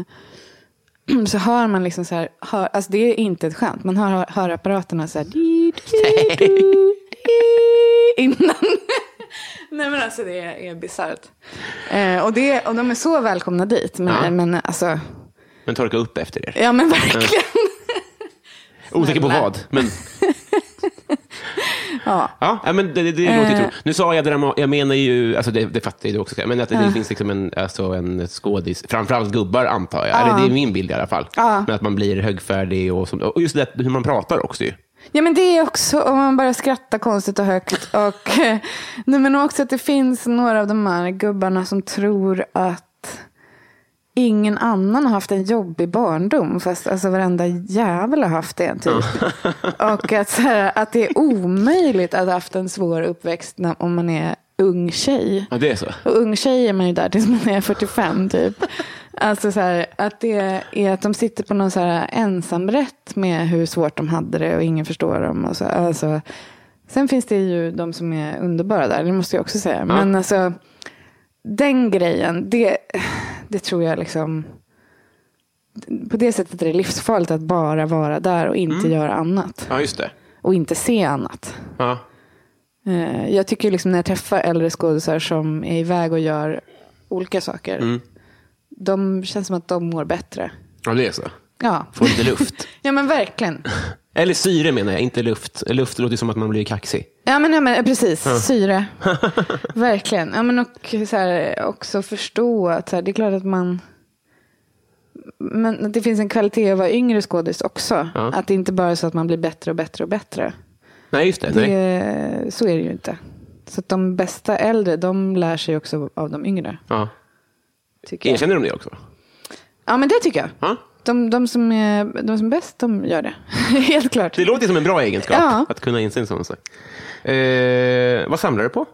Speaker 3: eh, så hör man liksom så här, hör, alltså det är inte ett skämt, man hör hör- hörapparaterna så här, di, di, du, di, innan. Nej men alltså det är, är bisarrt. Eh, och, det- och de är så välkomna dit, men,
Speaker 4: Ja.
Speaker 3: men alltså,
Speaker 4: Men torka upp efter er.
Speaker 3: ja men verkligen.
Speaker 4: Osäker på
Speaker 3: Snälla.
Speaker 4: vad, men
Speaker 3: Ja. Eh.
Speaker 4: Ja, ja, men det, det, det låter ju tro. Nu sa jag drama, jag menar ju, alltså det, det fattar ju du också, men att det, det finns liksom en, alltså en skådis, framförallt gubbar antar jag, eller det är min bild i alla fall.
Speaker 3: Ja.
Speaker 4: Men att man blir högfärdig och, som, och just det hur man pratar också ju.
Speaker 3: Ja men det är också om man bara skrattar konstigt och högt. Och, nej, men också att det finns några av de här gubbarna som tror att ingen annan har haft en jobbig barndom. Fast alltså varenda jävel har haft det typ. och att, så här, att det är omöjligt att ha haft en svår uppväxt när, om man är ung tjej.
Speaker 4: Ja, det är så.
Speaker 3: Och ung tjej är man ju där tills man är 45 typ. Alltså så här, att det är att de sitter på någon så här ensamrätt med hur svårt de hade det och ingen förstår dem. Och så, alltså, sen finns det ju de som är underbara där, det måste jag också säga. Men alltså, den grejen, det, det tror jag liksom... På det sättet är det livsfarligt att bara vara där och inte göra annat.
Speaker 4: Ja, just det.
Speaker 3: Och inte se annat.
Speaker 4: Ja.
Speaker 3: Eh, Jag tycker liksom när jag träffar äldre skådisar som är iväg och gör olika saker.
Speaker 4: Mm.
Speaker 3: De känns som att de mår bättre.
Speaker 4: ja, det är så.
Speaker 3: Ja,
Speaker 4: Få lite luft.
Speaker 3: ja men verkligen.
Speaker 4: Eller syre menar jag, inte luft. Luft låter ju som att man blir kaxig.
Speaker 3: Ja men, ja, men eh, precis, syre. verkligen. Ja, men och så här, också förstå att så här, det är klart att man... Men att det finns en kvalitet att vara yngre skådis också.
Speaker 4: Ja.
Speaker 3: Att det inte bara är så att man blir bättre och bättre och bättre.
Speaker 4: Nej, just det. Nej.
Speaker 3: Det, så är det ju inte. Så att de bästa äldre, de lär sig också av de yngre.
Speaker 4: Ja.
Speaker 3: Tycker jag.
Speaker 4: Erkänner de det också?
Speaker 3: Ja, men det tycker jag.
Speaker 4: Ja.
Speaker 3: De, de, som är, de som är bäst, de gör det. Helt klart.
Speaker 4: Det låter ju som en bra egenskap,
Speaker 3: Ja.
Speaker 4: att kunna inse en sån sak. Eh, vad samlar du på?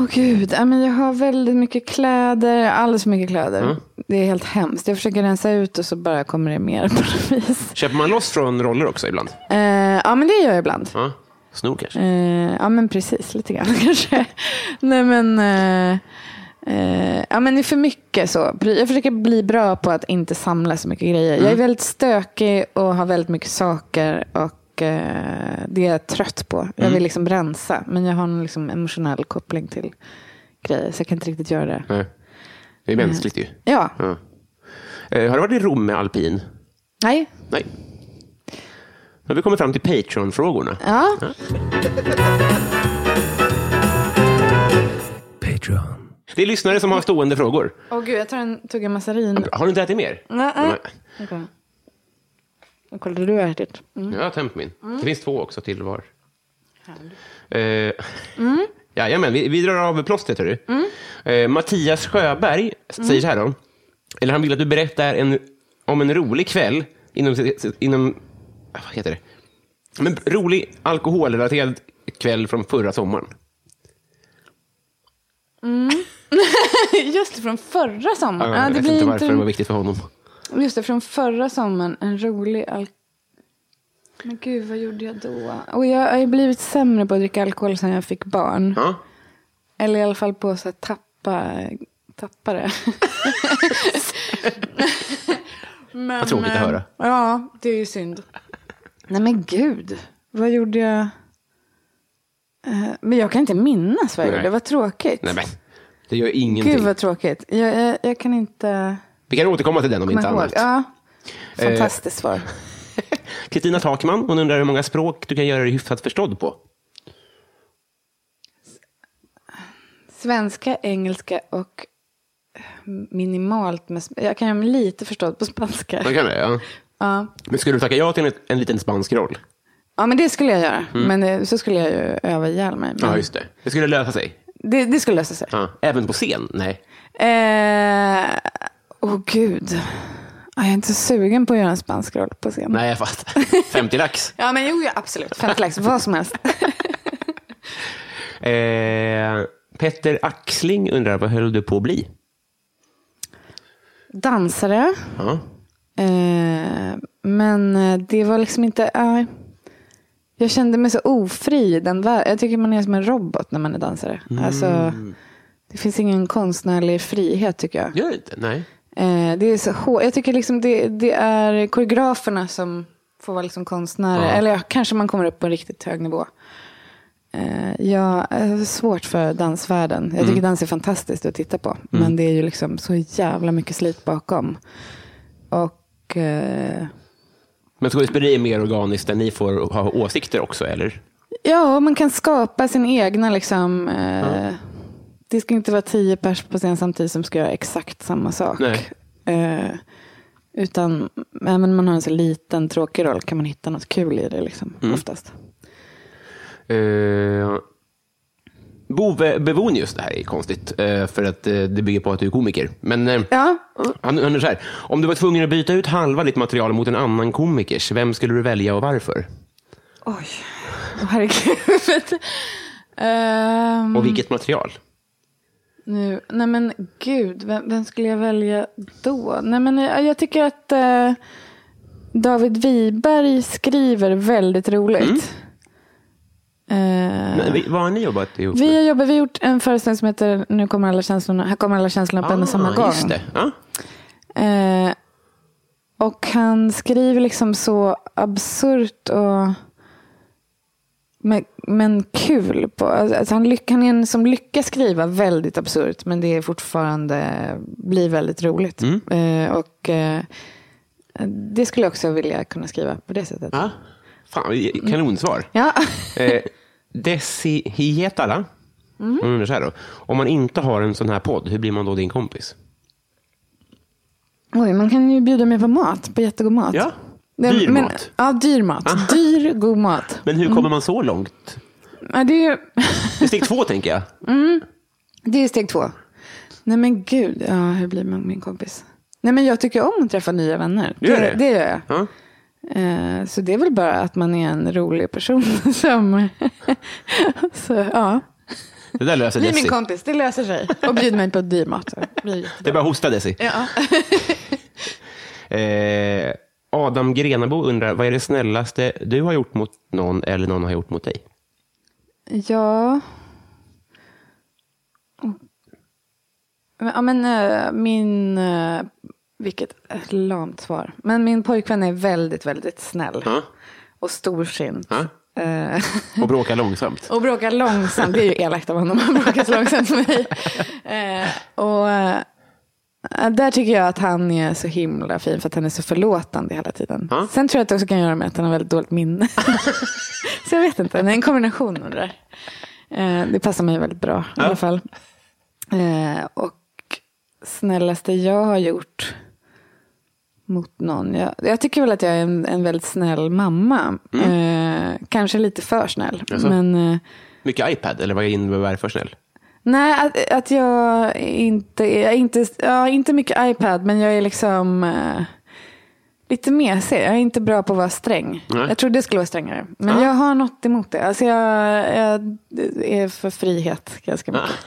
Speaker 3: Åh gud, ja, men jag har väldigt mycket kläder, alldeles för mycket kläder.
Speaker 4: Mm.
Speaker 3: Det är helt hemskt. Jag försöker rensa ut och så bara kommer det mer på något vis.
Speaker 4: Köper man loss från roller också ibland?
Speaker 3: Eh, ja, men det gör jag ibland.
Speaker 4: Ja. Snor kanske?
Speaker 3: Eh, ja, men precis. Lite grann kanske. Nej, men... eh, eh, ja, men det är för mycket så. Jag försöker bli bra på att inte samla så mycket grejer. Jag är
Speaker 4: Mm.
Speaker 3: väldigt stökig och har väldigt mycket saker. Och eh, det är jag trött på. Jag
Speaker 4: Mm.
Speaker 3: vill liksom rensa. Men jag har en liksom emotionell koppling till grejer. Så jag kan inte riktigt göra det.
Speaker 4: Nej. Det är mänskligt ju.
Speaker 3: Ja.
Speaker 4: Ja. Eh, har du varit i Rom med alpin?
Speaker 3: Nej.
Speaker 4: Nej. Då har vi kommit fram till Patreon-frågorna.
Speaker 3: Ja.
Speaker 4: Patreon. Det är lyssnare som har stående frågor.
Speaker 3: Åh gud, jag tar en tugga massarin.
Speaker 4: Har du inte ätit mer?
Speaker 3: Nej. Okej. Nu kollade du typ. ätit.
Speaker 4: Jag har tömt min.
Speaker 3: Mm.
Speaker 4: Det finns två också till var. Eh,
Speaker 3: Mm.
Speaker 4: Jajamän, vi, vi drar av plåstret. hörru. Eh, Mattias Sjöberg
Speaker 3: Mm.
Speaker 4: säger så här då. Eller han vill att du berättar en, om en rolig kväll inom, inom ah, vad heter det? Men rolig alkoholrelaterad kväll från förra sommaren.
Speaker 3: Just det, från förra sommaren. Ja,
Speaker 4: jag
Speaker 3: det
Speaker 4: vet
Speaker 3: blir
Speaker 4: inte varför
Speaker 3: inte...
Speaker 4: det var viktigt för honom.
Speaker 3: Just det, från förra sommaren. En rolig alk... Men gud, vad gjorde jag då? Och jag har ju blivit sämre på att dricka alkohol sedan jag fick barn.
Speaker 4: Ja.
Speaker 3: Eller i alla fall på att så här tappa, tappa det. men,
Speaker 4: Vad tråkigt att
Speaker 3: eh,
Speaker 4: höra.
Speaker 3: Ja, det är ju synd. Nej men gud, vad gjorde jag? Eh, Men jag kan inte minnas vad jag
Speaker 4: Nej.
Speaker 3: gjorde. Vad tråkigt.
Speaker 4: Nej, men det gör ingenting.
Speaker 3: Gud vad tråkigt. Jag, jag, jag kan inte
Speaker 4: Vi kan återkomma till den om
Speaker 3: komma
Speaker 4: inte
Speaker 3: ihåg.
Speaker 4: annat. Eh,
Speaker 3: Ja. Fantastiskt svar.
Speaker 4: Kristina Takman, hon undrar hur många språk du kan göra dig hyfsat förstådd på.
Speaker 3: Svenska, engelska och minimalt med... sp- Jag kan göra mig lite förstådd på spanska.
Speaker 4: Man kan det, ja.
Speaker 3: Ja.
Speaker 4: Men skulle du tacka ja till en, en liten spansk roll?
Speaker 3: ja, men det skulle jag göra. Men eh, så skulle jag ju öva ihjäl mig. Men
Speaker 4: Mm. Ja, just det. Det skulle lösa sig.
Speaker 3: det, det skulle lösa sig.
Speaker 4: Mm. Ja. Även på scen? Nej.
Speaker 3: Åh eh, oh, gud. Ja, Jag är inte sugen på att göra en spansk roll på scen.
Speaker 4: Nej, jag fattar. 50 lax.
Speaker 3: Ja, men jo, ja, absolut. Fem lax, vad som helst.
Speaker 4: Eh, Petter Axling undrar, vad höll du på att bli?
Speaker 3: Dansare.
Speaker 4: Ja.
Speaker 3: Eh, men eh, det var liksom inte... nej. jag kände mig så ofri i den världen. Jag tycker man är som en robot när man är dansare. Alltså, det finns ingen konstnärlig frihet tycker jag.
Speaker 4: Gör du inte? Nej.
Speaker 3: Eh, det är så hår... Jag tycker liksom det, det är koreograferna som får vara liksom konstnärer. Eller ja, kanske man kommer upp på en riktigt hög nivå. Eh, jag har svårt för dansvärlden. Jag tycker dans är fantastiskt att titta på. Men det är ju liksom så jävla mycket slit bakom. Och eh,
Speaker 4: Men skådespeleri är mer organiskt där ni får ha åsikter också, eller?
Speaker 3: Ja, man kan skapa sin egna liksom. Eh, Det ska inte vara tio pers på scen samtidigt som ska göra exakt samma sak.
Speaker 4: Nej.
Speaker 3: Eh, utan även om man har en så liten tråkig roll kan man hitta något kul i det liksom, oftast.
Speaker 4: Eh, Bo Be- Bevonius, det här är konstigt, eh, för att eh, det bygger på att du är komiker. Men eh,
Speaker 3: Ja,
Speaker 4: han undrar så här, om du var tvungen att byta ut halva ditt material mot en annan komikers, vem skulle du välja och varför?
Speaker 3: oj, Åh, herregud. Ehm,
Speaker 4: Och vilket material?
Speaker 3: nu, nej men gud, vem, vem skulle jag välja då? Nej men jag, jag tycker att eh, David Wiberg skriver väldigt roligt. Eh,
Speaker 4: Men vi- Vad har ni jobbat ihop
Speaker 3: vi
Speaker 4: med?
Speaker 3: har jobbat, vi har gjort en föreställning som heter Nu kommer alla känslorna, här kommer alla känslorna på en och samma gång.
Speaker 4: Ah, Just det. Ja.
Speaker 3: Eh, och han skriver liksom så absurt och men, men kul. På. Alltså han, lyck, han är en som lyckas skriva väldigt absurt men det är fortfarande blir väldigt roligt.
Speaker 4: Mm.
Speaker 3: Eh, och eh, Det skulle jag också vilja kunna skriva på det sättet.
Speaker 4: Ja. Ah. Fan, kanonsvar.
Speaker 3: Ja.
Speaker 4: Eh, Desi Hietala.
Speaker 3: Mm.
Speaker 4: Hon undrar så här då. Om man inte har en sån här podd, hur blir man då din kompis?
Speaker 3: Oj, man kan ju bjuda mig på mat, på jättegod mat.
Speaker 4: Ja.
Speaker 3: Det-
Speaker 4: Dyr
Speaker 3: men,
Speaker 4: mat. Ah.
Speaker 3: Ja, dyr mat. Dyr, god mat.
Speaker 4: Men hur kommer man så långt?
Speaker 3: Ja, det är ju...
Speaker 4: Det är steg två, tänker jag.
Speaker 3: Det är steg två. Nej men gud, ja, hur blir man min kompis? Nej men jag tycker om att träffa nya vänner.
Speaker 4: Du gör det?
Speaker 3: det, gör jag.
Speaker 4: Ja.
Speaker 3: Eh, så det är väl bara att man är en rolig person som... så, ja.
Speaker 4: Det där löser
Speaker 3: Bli min
Speaker 4: Desi.
Speaker 3: kompis, det löser sig. Och bjud mig på dyr mat. Det blir jättebra.
Speaker 4: Det är bara att hosta, Desi. eh, Adam Grenabo undrar, vad är det snällaste du har gjort mot någon eller någon har gjort mot dig?
Speaker 3: Ja. Men- Ja, men eh, min... eh, vilket ett lamt svar. Men min pojkvän är väldigt, väldigt snäll.
Speaker 4: Ja.
Speaker 3: Och storsint.
Speaker 4: Ja.
Speaker 3: Eh,
Speaker 4: Och bråka långsamt.
Speaker 3: och bråkar långsamt. Det är ju elakt av honom. Han bråkar så långsamt med mig. Eh, och eh, där tycker jag att han är så himla fin. För att han är så förlåtande hela tiden.
Speaker 4: Ja.
Speaker 3: Sen tror jag att det också kan göra med att han har väldigt dåligt minne. så jag vet inte. Det är en kombination av det där. Eh, det passar mig väldigt bra i alla fall. Eh, och snällaste jag har gjort mot någon. Jag, jag tycker väl att jag är en, en väldigt snäll mamma. Eh, kanske lite för snäll.
Speaker 4: Mm. Jaså?
Speaker 3: Men eh,
Speaker 4: Mycket iPad, eller vad innebär det för snäll?
Speaker 3: nej, att, att jag inte är, jag är inte, ja, inte mycket iPad, men jag är liksom eh, lite mesig. Jag är inte bra på att vara sträng.
Speaker 4: Nej.
Speaker 3: Jag trodde det skulle vara strängare. Men jag har något emot det. Alltså jag, jag är för frihet ganska mycket.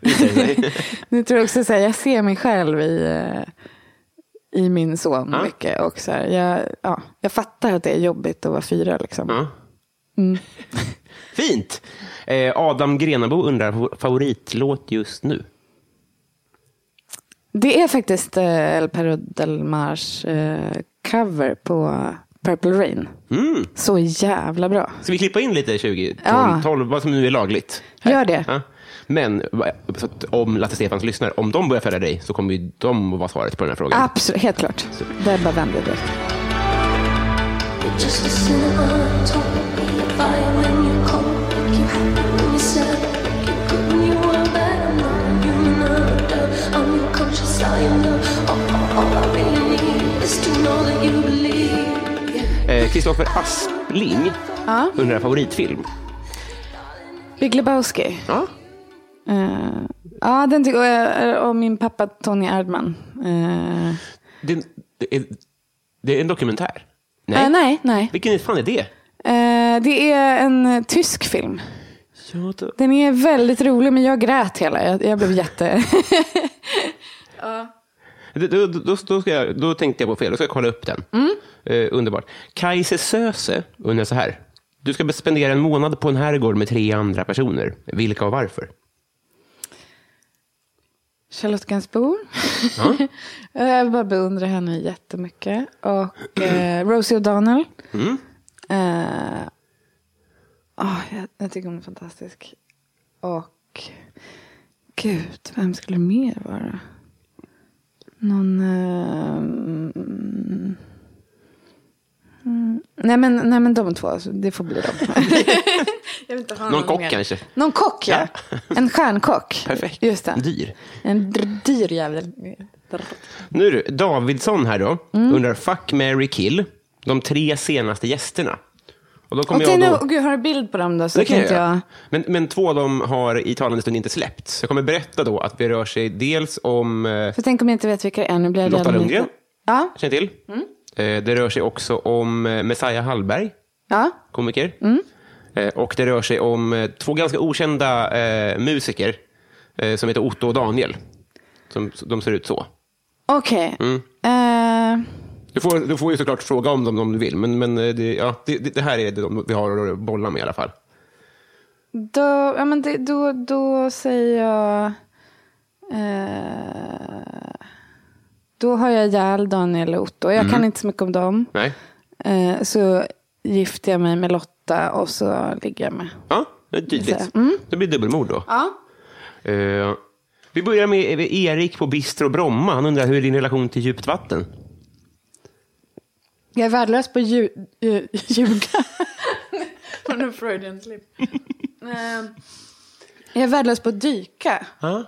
Speaker 4: Visar det sig?
Speaker 3: Nu tror jag också så här, jag ser mig själv i, eh, i min son
Speaker 4: Ja.
Speaker 3: mycket. Och så här, jag, ja, jag fattar att det är jobbigt att vara fyra. Liksom.
Speaker 4: Ja. Fint! Eh, Adam Grenabo undrar, vår favoritlåt just nu?
Speaker 3: Det är faktiskt eh, El Perro del Mars eh, cover på Purple Rain.
Speaker 4: Mm.
Speaker 3: Så jävla bra.
Speaker 4: Ska vi klippa in lite 20, 12,
Speaker 3: Ja.
Speaker 4: 12 vad som nu är lagligt?
Speaker 3: Gör det.
Speaker 4: Ja. Men va- så att om Lasse Stefans lyssnar, om de börjar följa dig så kommer ju de att vara svaret på den här frågan.
Speaker 3: Absolut, helt klart. Det är bara vänder direkt.
Speaker 6: Just a cinema, don't be a fire when you're cold. Make you happy when you're sad. Make you good when you are bad. I'm not a human, I'm a dove. I'm your conscious, I am love. All, all, all I really need is to know that you believe.
Speaker 4: Eh, Kristoffer Aspling undrar favoritfilm.
Speaker 3: Big Lebowski.
Speaker 4: Ja.
Speaker 3: Eh, ja, den tycker jag. Och min pappa Tony Erdman. Eh,
Speaker 4: Det, det, är, det är en dokumentär.
Speaker 3: nej. eh, nej, nej.
Speaker 4: Vilken fan är det?
Speaker 3: Eh, det är en eh, tysk film.
Speaker 4: Ja, då-
Speaker 3: Den är väldigt rolig, men jag grät hela. Jag, jag blev jätte...
Speaker 4: Då, då, då, då, ska jag, då tänkte jag på fel, då ska jag kolla upp den.
Speaker 3: Mm.
Speaker 4: Eh, underbart. Kajse Söse undrar så här. Du ska spendera en månad på en herrgård med tre andra personer. Vilka och varför?
Speaker 3: Charlotte Gainsbourg. Eh, jag bara beundrar henne jättemycket. Och eh, Rosie O'Donnell.
Speaker 4: Mm.
Speaker 3: Eh, ah, jag, jag tycker hon är fantastisk. Och gud, vem skulle det mer vara? Någon... Eh, mm, Nej men, nej men de två, så det får bli dem. Jag vill inte ha
Speaker 4: Någon kock
Speaker 3: mer.
Speaker 4: kanske?
Speaker 3: Någon kock ja. En stjärnkock.
Speaker 4: Perfekt.
Speaker 3: Just det.
Speaker 4: Dyr.
Speaker 3: En dr- dyr jävel.
Speaker 4: Nu du, Davidsson här då,
Speaker 3: Mm.
Speaker 4: undrar fuck, Mary kill, de tre senaste gästerna. Och då kommer
Speaker 3: Och
Speaker 4: jag
Speaker 3: nu,
Speaker 4: då...
Speaker 3: oh, gud, har du bild på dem då? Så
Speaker 4: Det kan jag
Speaker 3: tänkte
Speaker 4: göra.
Speaker 3: jag.
Speaker 4: Men, men två av dem har i talande stund inte släppts. Så Jag kommer berätta då att det rör sig dels om eh,
Speaker 3: För tänk om jag inte vet vilka det är. Nu blir jag
Speaker 4: Lotta
Speaker 3: redan-
Speaker 4: Lundgren,
Speaker 3: Ja,
Speaker 4: känner till.
Speaker 3: Mm.
Speaker 4: Eh, det rör sig också om eh, Messiah Hallberg,
Speaker 3: ja.
Speaker 4: komiker.
Speaker 3: Mm.
Speaker 4: Eh, och det rör sig om eh, två ganska okända eh, musiker eh, som heter Otto och Daniel. Som, de ser ut så.
Speaker 3: Okej.
Speaker 4: Mm.
Speaker 3: Eh,
Speaker 4: Du får, du får ju såklart fråga om dem om du vill, men, men eh, det, ja, det, det det här är de vi har att bolla med i alla fall.
Speaker 3: då, ja, men det, då, då säger jag... Eh, då har jag ihjäl Daniel och Otto. Jag
Speaker 4: Mm.
Speaker 3: kan inte så mycket om dem.
Speaker 4: Nej?
Speaker 3: Eh, så gifter jag mig med Lotta och så ligger jag med.
Speaker 4: Ja, det är tydligt.
Speaker 3: Mm.
Speaker 4: Det blir dubbelmord då.
Speaker 3: Ja.
Speaker 4: Eh, vi börjar med Erik på Bistro Bromma. Han undrar hur är din relation till djupt vatten?
Speaker 3: Jag är värdelös på ju, ju, ljuga. Från en Freudian slip. Eh, jag är värdelös på att dyka.
Speaker 4: Ha?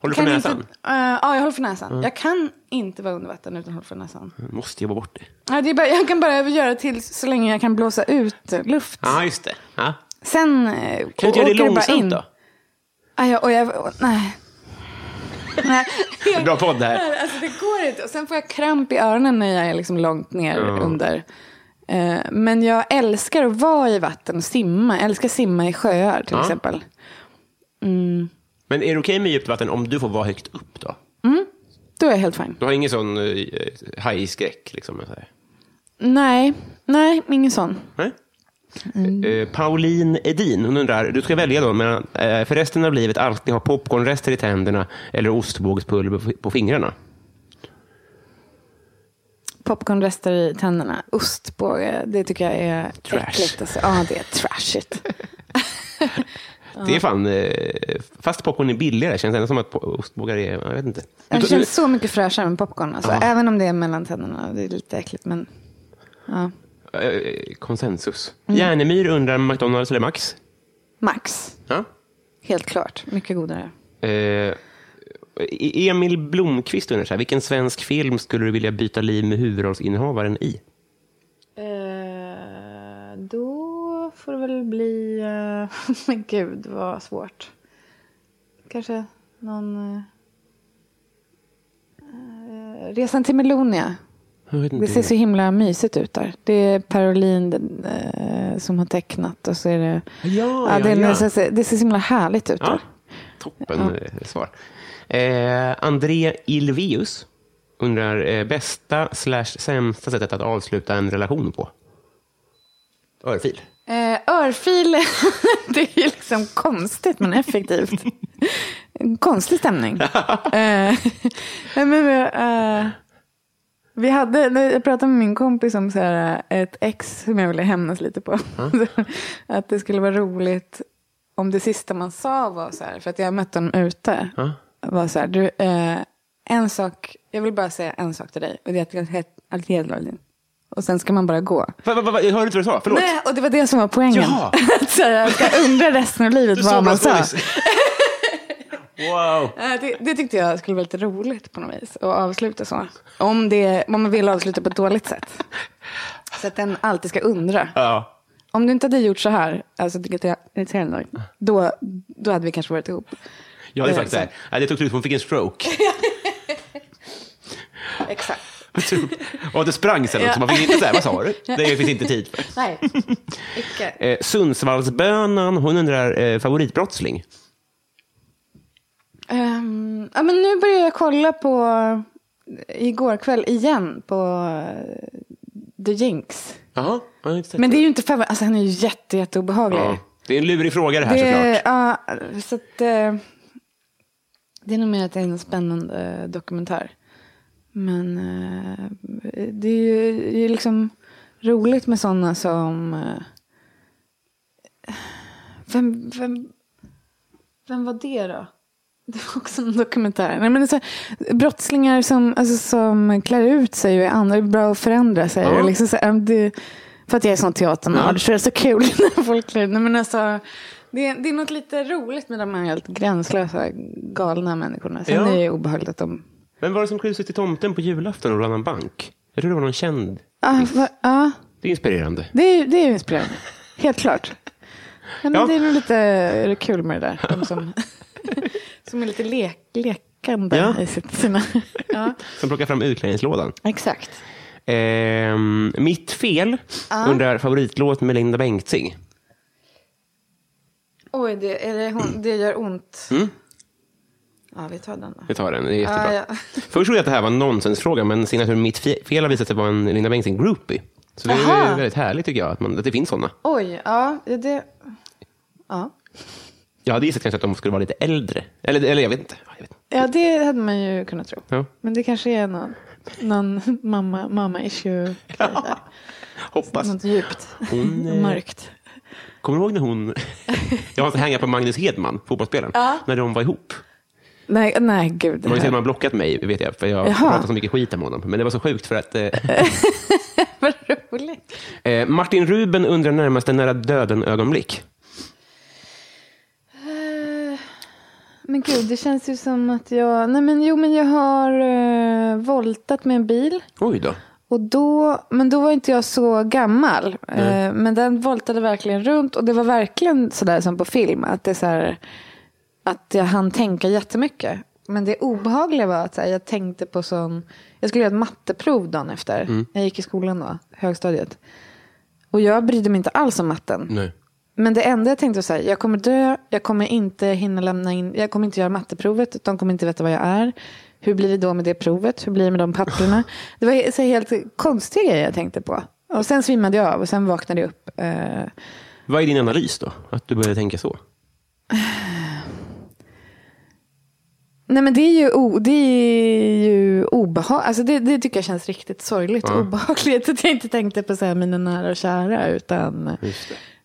Speaker 4: Håller du för
Speaker 3: Kan
Speaker 4: näsan? Mm.
Speaker 3: Inte, eh, ja, jag håller för näsan. Jag kan inte vara under vatten utan håller för näsan.
Speaker 4: Måste jobba bort det.
Speaker 3: Ja, det är bara, jag kan bara göra till så länge jag kan blåsa ut luft.
Speaker 4: Ja, just det. Ja.
Speaker 3: Sen eh,
Speaker 4: Kan du inte göra det långsamt då?
Speaker 3: Ah, ja, och jag, och, nej. nej.
Speaker 4: Bra podd det här.
Speaker 3: Nej, Alltså det går inte. Och sen får jag kramp i öronen när jag är liksom långt ner under. Eh, Men jag älskar att vara i vatten och simma. Jag älskar att simma i sjöar till exempel.
Speaker 4: Men är det okej med djupt vatten om du får vara högt upp då?
Speaker 3: Då är jag helt fine.
Speaker 4: Du har ingen sån eh, hajskräck? Liksom, så här.
Speaker 3: Nej, nej, ingen sån.
Speaker 4: Nej?
Speaker 3: Mm.
Speaker 4: Eh, Pauline Edin, hon undrar, du ska välja då mellan eh, för resten av livet alltid ha popcornrester i tänderna eller ostbågspulver på- på fingrarna?
Speaker 3: Popcornrester i tänderna. Ostbåge, det tycker jag är
Speaker 4: Trash.
Speaker 3: äckligt. Alltså. Ja, det är trashigt.
Speaker 4: Det är fan, eh, fast popcorn är billigare känns det ändå som att po- ostbågar är, jag vet inte.
Speaker 3: Det
Speaker 4: Du-
Speaker 3: känns så mycket fräschare med popcorn. Alltså.
Speaker 4: Ja.
Speaker 3: Även om det är mellan tänderna. Det är lite äckligt, men
Speaker 4: Eh, eh, Konsensus.
Speaker 3: Mm.
Speaker 4: Järnemyr undrar McDonalds eller Max?
Speaker 3: max.
Speaker 4: Ja.
Speaker 3: Helt klart. Mycket godare.
Speaker 4: Eh, E-, Emil Blomqvist undrar så här, vilken svensk film skulle du vilja byta liv med huvudrollsinnehavaren i?
Speaker 3: Eh, då får det väl bli... eh, Men gud, vad svårt. Kanske någon... eh, eh, Resan till Melonia.
Speaker 4: Jag vet
Speaker 3: Det ser
Speaker 4: inte.
Speaker 3: så himla mysigt ut där. Det är Caroline den, eh, som har tecknat och så är det...
Speaker 4: Ja, ja,
Speaker 3: det,
Speaker 4: ja.
Speaker 3: Det, ser, det ser så himla härligt ut
Speaker 4: Ja,
Speaker 3: där.
Speaker 4: toppen
Speaker 3: Mm.
Speaker 4: eh, svar. Eh, André Ilvius undrar eh, bästa slash sämsta sättet att avsluta en relation på? Örfil.
Speaker 3: Eh, örfil, det är ju liksom konstigt men effektivt. En Konstig stämning. eh, men, eh, vi hade, när jag pratade med min kompis om så här, eh, ett ex som jag ville hämnas lite på. att det skulle vara roligt om det sista man sa var så här, för att jag mötte honom ute. Var så här, du, eh, en sak, jag vill bara säga en sak till dig och det är att jag heter Alfredo Wallin. Och sen ska man bara gå.
Speaker 4: Va, va, va, va, jag hörde inte vad du sa, förlåt.
Speaker 3: Nej, och det var det som var poängen.
Speaker 4: Jaha.
Speaker 3: Att så här, jag ska undra resten av livet vad man sa.
Speaker 7: Wow.
Speaker 3: Eh, Det, det tyckte jag skulle vara lite roligt på något vis. Att avsluta så. Om, det, om man vill avsluta på ett dåligt sätt. Så att den alltid ska undra.
Speaker 4: Ja.
Speaker 3: Om du inte hade gjort så här, alltså vilket jag är irriterad av, då, då hade vi kanske varit ihop.
Speaker 4: Jag hade
Speaker 3: Det är
Speaker 4: sagt Eh, så här, "Nej, det tog slut, hon fick en stroke.
Speaker 3: Exakt.
Speaker 4: Typ. Och det sprang sen också, man fick inte så här, vad sa du? Det finns inte tid för.
Speaker 3: Nej, icke.
Speaker 4: Eh, Sundsvallsbönan, hon undrar eh, favoritbrottsling.
Speaker 3: Ehm, ja, men nu börjar jag kolla på, igår kväll igen, på eh, The Jinx.
Speaker 4: Jaha, ja, just
Speaker 3: Men det är ju inte favorit. Alltså han är ju jätte, jätte obehaglig.
Speaker 4: Ja. Det är en lurig fråga det här
Speaker 3: det,
Speaker 4: såklart.
Speaker 3: ja, så att, eh, det är nog mer att det är en spännande eh, dokumentär. Men eh, det är ju det är ju liksom roligt med sådana som... Eh, vem, vem, vem var det då? Det var också en dokumentär. Nej, men det är så, brottslingar som, alltså, som klär ut sig och är andra, det är bra att förändra sig.
Speaker 4: Ja.
Speaker 3: Och liksom, så, här, det, För att jag är sån teaternörd så är det så kul när folk klär Nej, men alltså, det, är, det är något lite roligt med de här helt gränslösa galna människorna. Sen
Speaker 4: Ja.
Speaker 3: är det ju obehagligt att de...
Speaker 4: Vem var det som klöv sig till tomten på julafton och rann en bank? Jag tror det var någon känd.
Speaker 3: Ah, va, ah,
Speaker 4: Det är inspirerande.
Speaker 3: det, är, ju- det är ju inspirerande. Helt klart. Men
Speaker 4: Ja.
Speaker 3: Det är nog lite är det kul med det där. De som, som är lite lek, lekande
Speaker 4: Ja.
Speaker 3: i sitt, sina... ja,
Speaker 4: Som plockade fram utklädningslådan.
Speaker 3: exakt.
Speaker 4: Ehm, mitt fel
Speaker 3: Ah.
Speaker 4: undrar favoritlåt med Linda Bengtzing.
Speaker 3: Oj, det, är det, hon, det gör ont. Ja, vi tar den då.
Speaker 4: Vi tar den, Mm. det är jättebra.
Speaker 3: Ah, ja.
Speaker 4: Först trodde jag att det här var en nonsensfråga, men signaturen Mitt fe- fel har visat sig vara en Linda Bengtzing-groupie. Så det är
Speaker 3: Aha.
Speaker 4: ju väldigt härligt tycker jag, att, man, att det finns sådana.
Speaker 3: Oj, ja, det... Ja.
Speaker 4: Jag hade gissat kanske att de skulle vara lite äldre. Eller, eller jag vet inte. Ja, Jag vet. inte.
Speaker 3: ja, det hade man ju kunnat tro.
Speaker 4: Ja.
Speaker 3: Men det kanske är någon, någon mamma, mamma issue.
Speaker 4: Hoppas.
Speaker 3: Något djupt.
Speaker 4: Hon, eh,
Speaker 3: Mörkt.
Speaker 4: Kommer du ihåg när hon... jag har hänga på Magnus Hedman, fotbollsspelaren, när de var ihop.
Speaker 3: Nej, nej gud. det
Speaker 4: Magnus
Speaker 3: här-
Speaker 4: Hedman har blockat mig, vet jag, för jag
Speaker 3: Jaha.
Speaker 4: pratade så mycket skit om honom. Men det var så sjukt för att... Eh,
Speaker 3: Vad roligt.
Speaker 4: eh, Martin Ruben undrar närmast en nära döden-ögonblick.
Speaker 3: Eh, Men gud, det känns ju som att jag... Nej, men jo, men jag har eh, voltat med en bil.
Speaker 4: Oj då.
Speaker 3: Och då, men då var inte jag så gammal. Eh, men den voltade verkligen runt och det var verkligen sådär som på film. Att, det är så här, att jag hann tänka jättemycket. Men det obehagliga var att så här, jag tänkte på sån... Jag skulle göra ett matteprov dagen efter. Jag gick i skolan då, högstadiet. Och jag brydde mig inte alls om matten.
Speaker 4: Nej.
Speaker 3: Men det enda jag tänkte var så här, jag kommer dö, jag kommer inte hinna lämna in, jag kommer inte göra matteprovet, de kommer inte veta vad jag är. Hur blir det då med det provet? Hur blir det med de papperna? Det var så här helt konstiga grejer jag tänkte på. Och sen svimmade jag av och sen vaknade jag upp. Eh,
Speaker 4: Vad är din analys då? Att du började tänka så?
Speaker 3: Nej men det är ju, o, det är ju obehag, alltså det, det tycker jag känns riktigt sorgligt och obehagligt att jag inte tänkte på så här mina nära och kära utan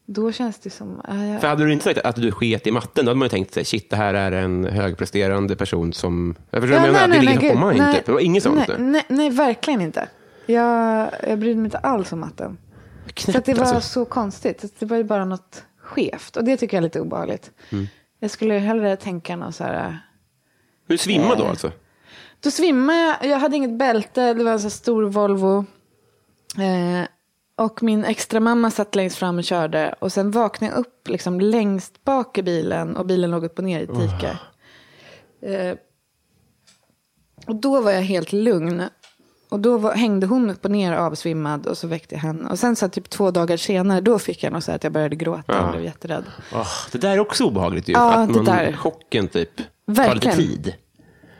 Speaker 3: då känns det som, ah, jag,
Speaker 4: För hade du inte sagt att du sket i matten, då hade man ju tänkt sig, shit, det här är en högpresterande person som... Jag förstår vad du menar, det ligger på
Speaker 3: gud,
Speaker 4: mig
Speaker 3: nej,
Speaker 4: inte. Det var inget sånt.
Speaker 3: Nej, nej, nej verkligen inte. Jag, jag brydde mig inte alls om matten. så att det var
Speaker 4: alltså.
Speaker 3: så konstigt. Det var ju bara något skevt. Och det tycker jag är lite obehagligt.
Speaker 4: Mm.
Speaker 3: Jag skulle hellre tänka någon så här...
Speaker 4: Du svimmade då alltså?
Speaker 3: Då svimmade jag. Jag hade inget bälte. Det var en så här stor Volvo. Eh, och min extra mamma satt längst fram och körde. Och sen vaknade jag upp liksom längst bak i bilen. Och bilen låg upp och ner i ett dike. Eh, och då var jag helt lugn. Och då var, hängde hon upp och ner avsvimmad. Och så väckte jag henne. Och sen så här, typ två dagar senare. Då fick jag något så här att jag började gråta.
Speaker 4: Ja.
Speaker 3: Och blev jätterädd.
Speaker 4: Åh, det där är också obehagligt ju.
Speaker 3: Ja,
Speaker 4: att
Speaker 3: det
Speaker 4: man,
Speaker 3: där.
Speaker 4: Chocken typ. Tar lite
Speaker 3: Verkligen.
Speaker 4: tid.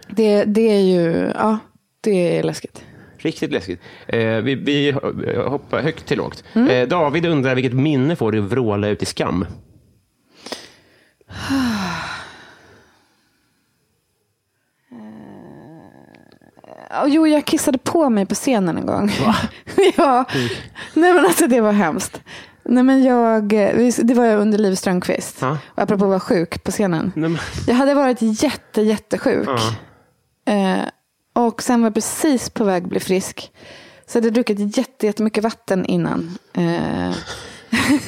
Speaker 3: Det, det är ju... Ja, det är läskigt.
Speaker 4: Riktigt läskigt. Eh, vi, vi hoppar högt till lågt.
Speaker 3: Mm.
Speaker 4: Eh, David undrar vilket minne får du vråla ut i skam?
Speaker 3: Ja, Jo, jag kissade på mig på scenen en gång. ja. Nej, men alltså det var hemskt. Nej, men jag, eh, vi- det var under Liv Strömquist.
Speaker 4: Ja.
Speaker 3: Och Apropå att vara sjuk på scenen.
Speaker 4: Nej, men-
Speaker 3: Jag hade varit jätte, jättesjuk. Eh, och sen var jag precis på väg att bli frisk. Så jag hade druckit jätte, jättemycket vatten innan. Eh,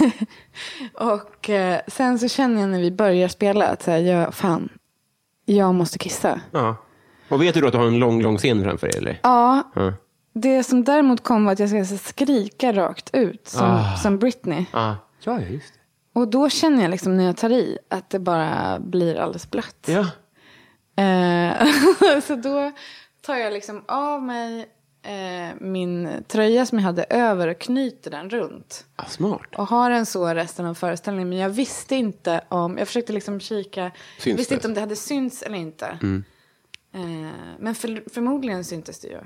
Speaker 3: och eh, sen så känner jag när vi börjar spela att så här, jag, fan, jag måste kissa.
Speaker 4: Ja. Och vet du då att du har en lång, lång scen framför dig? Eller?
Speaker 3: Ja,
Speaker 4: Ja.
Speaker 3: det som däremot kom var att jag skulle så skrika rakt ut som,
Speaker 4: Ah.
Speaker 3: som Britney.
Speaker 4: Ja, ja just det.
Speaker 3: Och då känner jag liksom när jag tar i att det bara blir alldeles blött.
Speaker 4: Ja.
Speaker 3: Eh, så då tar jag liksom av mig eh, min tröja som jag hade över och knyter den runt.
Speaker 4: Ah, smart.
Speaker 3: Och har den så resten av föreställningen. Men jag visste inte om, jag försökte liksom kika.
Speaker 4: Syns
Speaker 3: visste
Speaker 4: det? Mm.
Speaker 3: inte om det hade synts eller inte. Eh, men för, förmodligen syntes det ju.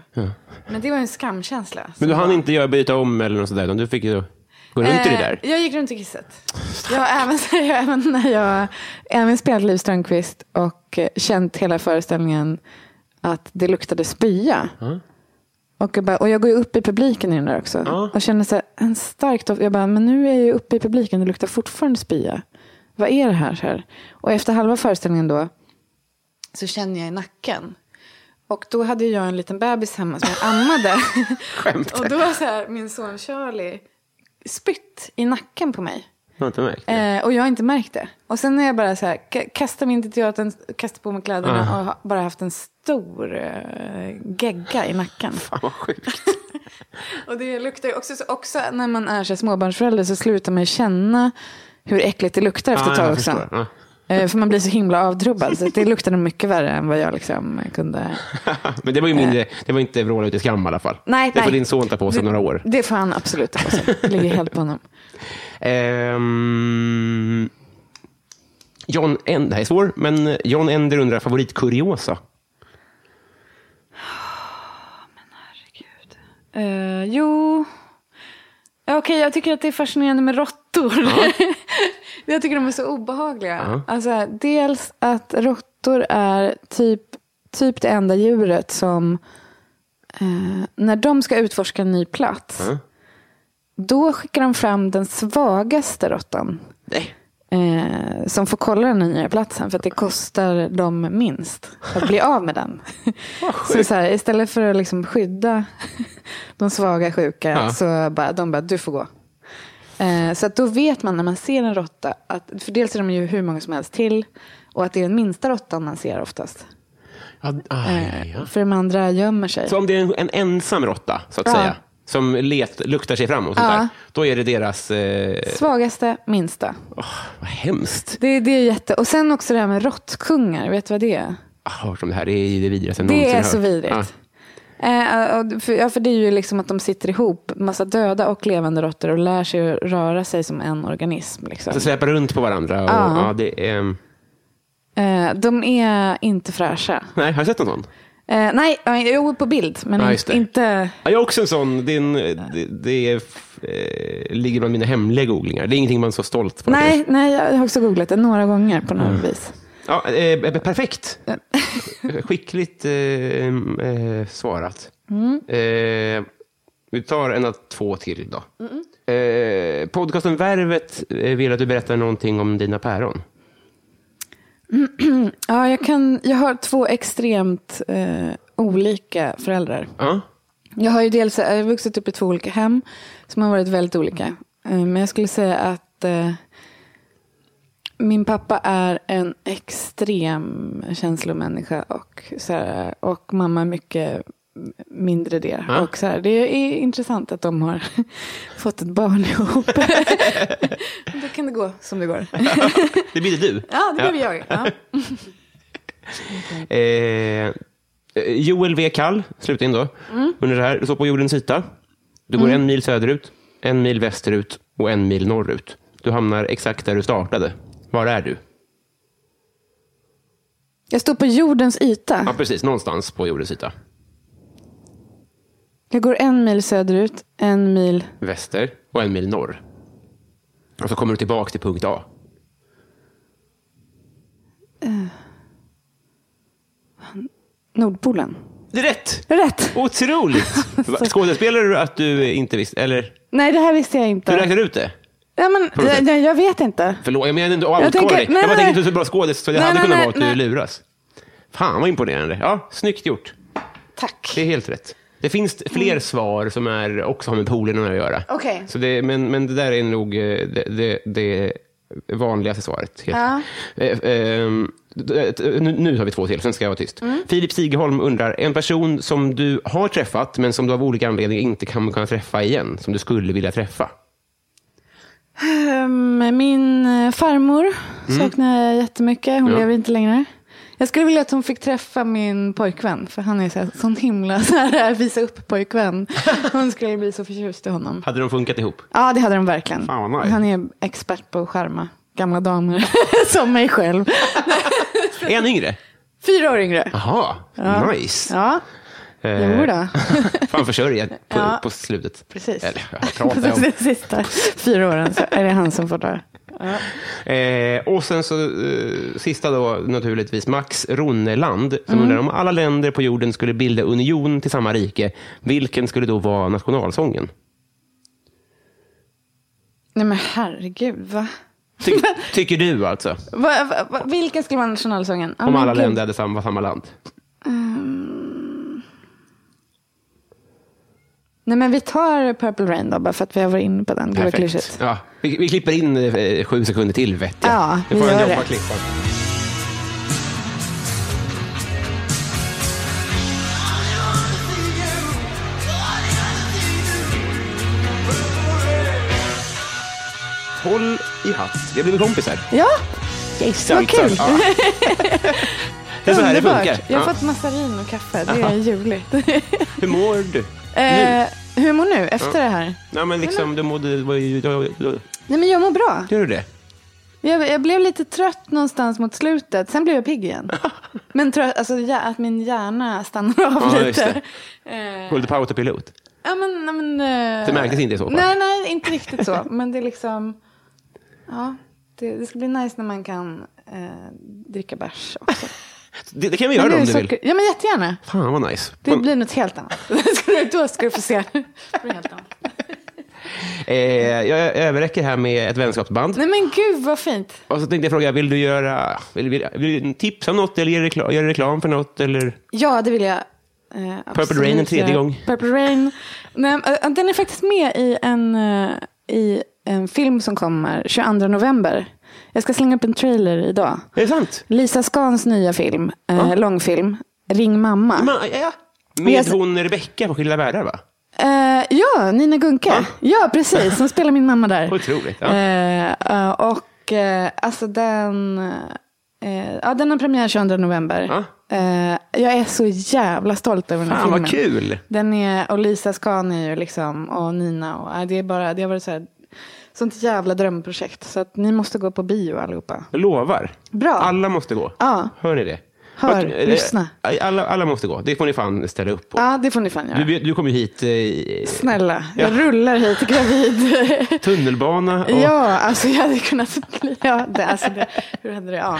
Speaker 3: Men det var en skamkänsla.
Speaker 4: Men du hann inte göra byta om eller något sådär, utan du fick ju gå runt i det där.
Speaker 3: Eh, Jag gick runt i kisset. Jag har även, jag har även, när jag, även spelat Liv Strömquist och eh, känt hela föreställningen att det luktade spya. Och, jag bara, och jag går ju upp i publiken i den där också. Och känner så här, en stark doft. Jag bara, men nu är jag ju uppe i publiken, det luktar fortfarande spya. Vad är det här? Så här? Och efter halva föreställningen då så känner jag i nacken. Och då hade jag en liten bebis hemma som jag ammade. och då så här, min son Charlie spytt i nacken på mig.
Speaker 4: Jag har inte märkt det.
Speaker 3: Eh, och jag har inte märkt det. Och sen är jag bara så här, ka- kastar mig in till teatern, kastar på mig kläderna och har bara haft en stor eh, gegga i nacken.
Speaker 4: Fan vad sjukt.
Speaker 3: Och det luktar ju också, så också när man är så här småbarnsförälder så slutar man ju känna hur äckligt det luktar efter ett
Speaker 4: Ja,
Speaker 3: tag
Speaker 4: jag
Speaker 3: också.
Speaker 4: förstår. Ja.
Speaker 3: Eh, För man blir så himla avtrubbad. Så det luktade mycket värre än vad jag liksom kunde.
Speaker 4: Men det var ju mindre, det var inte vråla ut i skam i alla fall.
Speaker 3: Eh. Nej,
Speaker 4: det får
Speaker 3: nej.
Speaker 4: din son ta på sig om Alltså några år.
Speaker 3: Det får han absolut ta på sig. Det ligger helt på honom.
Speaker 4: Ehm, John End, det här är svår, men John Ender undrar favoritkuriosa.
Speaker 3: Eh, jo. Ja, Okej, jag tycker att det är fascinerande med råttor. jag tycker de är så obehagliga. Alltså, dels att råttor är typ, typ det enda djuret som... eh, när de ska utforska en ny plats, då skickar de fram den svagaste råttan.
Speaker 4: Nej.
Speaker 3: Eh, som får kolla den nya platsen för att det kostar dem minst att bli av med den. så så här, istället för att liksom skydda de svaga sjuka
Speaker 4: Ja.
Speaker 3: så bara, de bara, du får gå. Eh, så att då vet man när man ser en råtta, att, för dels är de ju hur många som helst till och att det är den minsta råttan man ser oftast.
Speaker 4: Ja, aj, ja.
Speaker 3: För de andra gömmer sig.
Speaker 4: Så om det är en, en ensam råtta, så att
Speaker 3: Ja.
Speaker 4: säga, som let, luktar sig fram och sånt
Speaker 3: Ja.
Speaker 4: där, då är det deras... Eh,
Speaker 3: Svagaste, minsta.
Speaker 4: åh, vad hemskt.
Speaker 3: Det, det är jätte... Och sen också det här med råttkungar, vet du vad det är?
Speaker 4: Jag har hört om det här, det är ju det vidrigaste jag
Speaker 3: Det
Speaker 4: någonsin
Speaker 3: är
Speaker 4: hört.
Speaker 3: så vidrigt. Eh, och för, ja, för det är ju liksom att de sitter ihop, massa döda och levande råttor och lär sig att röra sig som en organism. Liksom.
Speaker 4: Så släpar runt på varandra. Och,
Speaker 3: Ja.
Speaker 4: ja, det är,
Speaker 3: Eh, de är inte fräscha.
Speaker 4: nej, har du sett någon sån?
Speaker 3: Eh, nej, eh, jo på bild, men
Speaker 4: Ja, just det.
Speaker 3: inte...
Speaker 4: Ja, jag är också en sån. Det, är en, det, det är, f- eh, ligger bland mina hemliga googlingar. Det är ingenting man är så stolt på. Mm.
Speaker 3: Nej, nej, jag har också googlat det några gånger på något vis.
Speaker 4: Ja, eh, eh, perfekt. Skickligt eh, eh, svarat. Eh, vi tar en av två till då. Eh, podcasten Värvet eh, vill att du berättar någonting om dina päron.
Speaker 3: Ja, jag, kan, jag har två extremt eh, olika föräldrar.
Speaker 4: Ja,
Speaker 3: Jag har ju dels jag har vuxit upp i två olika hem som har varit väldigt olika. Eh, Men jag skulle säga att eh, min pappa är en extrem känslomänniska och, så här, och mamma är mycket mindre det.
Speaker 4: Ja.
Speaker 3: Och så här, det är intressant att de har fått ett barn ihop. Då kan det gå som det går.
Speaker 4: det blir du.
Speaker 3: Ja, det blev jag. Ja.
Speaker 4: Eh, Joel V. Kall, slutligen då, under det här, du står på jordens yta. Du går
Speaker 3: Mm.
Speaker 4: en mil söderut, en mil västerut och en mil norrut. Du hamnar exakt där du startade. Var är du?
Speaker 3: Jag står på jordens
Speaker 4: Ja,
Speaker 3: yta.
Speaker 4: precis. Någonstans på jordens yta.
Speaker 3: Jag går en mil söderut, en mil
Speaker 4: Väster och en mil norr. Och så kommer du tillbaka till punkt A.
Speaker 3: Nordpolen.
Speaker 4: Det är rätt!
Speaker 3: Rätt!
Speaker 4: Otroligt! Skådespelare du att du inte visste? Eller,
Speaker 3: Nej, det här visste jag inte.
Speaker 4: du räknade ut det?
Speaker 3: Ja, men,
Speaker 4: du
Speaker 3: jag,
Speaker 4: sett?
Speaker 3: jag, jag vet inte.
Speaker 4: Förlåt, jag menar inte att avkolla
Speaker 3: tänker-
Speaker 4: dig.
Speaker 3: nej,
Speaker 4: Jag
Speaker 3: nej,
Speaker 4: bara tänkte
Speaker 3: nej.
Speaker 4: att du är så bra skådis, så det
Speaker 3: Nej,
Speaker 4: hade
Speaker 3: nej,
Speaker 4: kunnat
Speaker 3: nej,
Speaker 4: vara att du
Speaker 3: nej.
Speaker 4: luras. Fan vad imponerande. Ja, snyggt gjort.
Speaker 3: Tack.
Speaker 4: Det är helt rätt. Det finns fler svar som är, också har med polerna att göra.
Speaker 3: Mm. Okej.
Speaker 4: Så det, men, men det där är nog eh, det, det, det vanligaste svaret. Helt.
Speaker 3: Ja.
Speaker 4: Eh, ehm, d- d- nu, nu har vi två till, sen ska jag vara tyst.
Speaker 3: Mm.
Speaker 4: Filip Sigeholm undrar, en person som du har träffat, men som du av olika anledningar inte kan kunna träffa igen, som du skulle vilja träffa.
Speaker 3: Ehm, min eh, farmor saknar jag jättemycket. Hon
Speaker 4: Mm. Ja.
Speaker 3: lever inte längre. Jag skulle vilja att hon fick träffa min pojkvän. För han är så här, sån himla så här, eh, visa upp pojkvän. Hon skulle bli så förtjust i honom.
Speaker 4: Hade de funkat ihop?
Speaker 3: Ja, det hade de verkligen.
Speaker 4: Fan, vad nice.
Speaker 3: Han är expert på att charma gamla damer. som mig själv.
Speaker 4: Är han yngre?
Speaker 3: Fyra år yngre.
Speaker 4: Jaha, nice.
Speaker 3: Ja,
Speaker 4: Eh,
Speaker 3: jo då.
Speaker 4: Fan försörja på,
Speaker 3: Ja.
Speaker 4: på slutet.
Speaker 3: Precis.
Speaker 4: Eller, jag pratar om.
Speaker 3: De sista fyra åren så är det han som får dö.
Speaker 4: Eh, och sen så eh, sista då naturligtvis Max Ronneland som
Speaker 3: Mm.
Speaker 4: undrar om alla länder på jorden skulle bilda union till samma rike, vilken skulle då vara nationalsången?
Speaker 3: Nej men herregud, va?
Speaker 4: Ty, tycker du alltså?
Speaker 3: Va, va, va, vilken skulle vara nationalsången? Ja,
Speaker 4: Om
Speaker 3: men
Speaker 4: alla
Speaker 3: gud.
Speaker 4: länder hade samma, var samma land.
Speaker 3: Nej, men vi tar Purple Rain då, bara för att vi har varit inne på den. Gud vad klyschigt.
Speaker 4: Ja, vi, vi klipper in eh, sju sekunder till, vet jag.
Speaker 3: Ja,
Speaker 4: Nu
Speaker 3: vi
Speaker 4: får han
Speaker 3: gör
Speaker 4: jobba
Speaker 3: det.
Speaker 4: klippa. Håll i hatt. Vi har blivit kompisar.
Speaker 3: Ja, yes, vad kul.
Speaker 4: Ja. Det är så här det
Speaker 3: Underbart.
Speaker 4: funkar.
Speaker 3: Jag har
Speaker 4: Ja.
Speaker 3: fått massarin och kaffe. Det är ljuvligt.
Speaker 4: Hur mår du?
Speaker 3: eh, hur mår nu efter det här?
Speaker 4: Nej, men liksom, du mådde... vad- vad- vad-
Speaker 3: Nej, men jag mår bra.
Speaker 4: Gör du det?
Speaker 3: Jag, jag blev lite trött någonstans mot slutet. Sen blev jag pigg igen. Men trött, alltså ja, att min hjärna stannar av
Speaker 4: Ja, just
Speaker 3: lite. Eh,
Speaker 4: det. Går du lite på autopilot?
Speaker 3: Ja, men, ja, men, eh,
Speaker 4: Det märktes inte i så fall.
Speaker 3: Nej, nej, inte riktigt så. Men det är liksom... Ja, det, det ska bli nice när man kan eh, dricka bärs också.
Speaker 4: Det, det kan vi
Speaker 3: Men
Speaker 4: göra
Speaker 3: det är
Speaker 4: om du
Speaker 3: socker-
Speaker 4: vill.
Speaker 3: Ja, men jättegärna.
Speaker 4: Fan vad nice.
Speaker 3: Det blir något helt annat. Ska du- Då ska du få se. Det blir helt annat.
Speaker 4: Eh, jag överräcker här med ett vänskapsband.
Speaker 3: Nej, men gud vad fint.
Speaker 4: Och så tänkte jag fråga, vill du göra, vill, vill, vill du tipsa om något eller göra reklam, göra reklam för något? Eller?
Speaker 3: Ja, det vill jag. eh, absolut
Speaker 4: Rain en tredje
Speaker 3: göra.
Speaker 4: gång.
Speaker 3: Purple Rain. Nej, eh, den är faktiskt med i en, eh, i en film som kommer 22 november. Jag ska slänga upp en trailer idag.
Speaker 4: Är det sant?
Speaker 3: Lisa Skans nya film, eh, långfilm, Ring mamma.
Speaker 4: Ma, ja.
Speaker 3: Jag
Speaker 4: Med
Speaker 3: ser-
Speaker 4: hon Rebecka på Skilda Världar va?
Speaker 3: Eh, ja, Nina Gunke. Ja, precis. Hon spelar min mamma där.
Speaker 4: Otroligt, ja.
Speaker 3: Eh, eh, och eh, alltså den... eh, ja, den har premiär 22 november.
Speaker 4: Ja.
Speaker 3: Eh, jag är så jävla stolt över den här
Speaker 4: Fan
Speaker 3: filmen.
Speaker 4: vad kul!
Speaker 3: Den är, och Lisa Skan är ju liksom, och Nina och eh, det är bara, det har varit så här, sånt jävla drömprojekt. Så att ni måste gå på bio allihopa.
Speaker 4: Jag lovar.
Speaker 3: Bra.
Speaker 4: Alla måste gå.
Speaker 3: Ja.
Speaker 4: Hör ni det?
Speaker 3: Hör,
Speaker 4: Vart- eh,
Speaker 3: lyssna.
Speaker 4: Alla, alla måste gå. Det får ni fan ställa upp på.
Speaker 3: Ja, det får ni fan göra.
Speaker 4: Du, du kom ju hit eh, i
Speaker 3: Snälla, jag
Speaker 4: Ja.
Speaker 3: rullar hit gravid.
Speaker 4: tunnelbana och
Speaker 3: Ja, alltså jag hade kunnat... Ja, det, alltså det, hur hade det... Ja.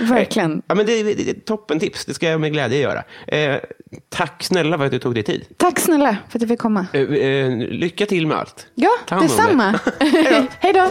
Speaker 3: Verkligen.
Speaker 4: Ja, men det, det, det är toppen tips. Det ska jag med glädje göra. Eh, tack snälla för att du tog dig tid.
Speaker 3: Tack snälla för att du fick komma.
Speaker 4: Eh, eh, lycka till med allt.
Speaker 3: Ja,
Speaker 4: Ta hand om dig.
Speaker 3: detsamma. Hej då.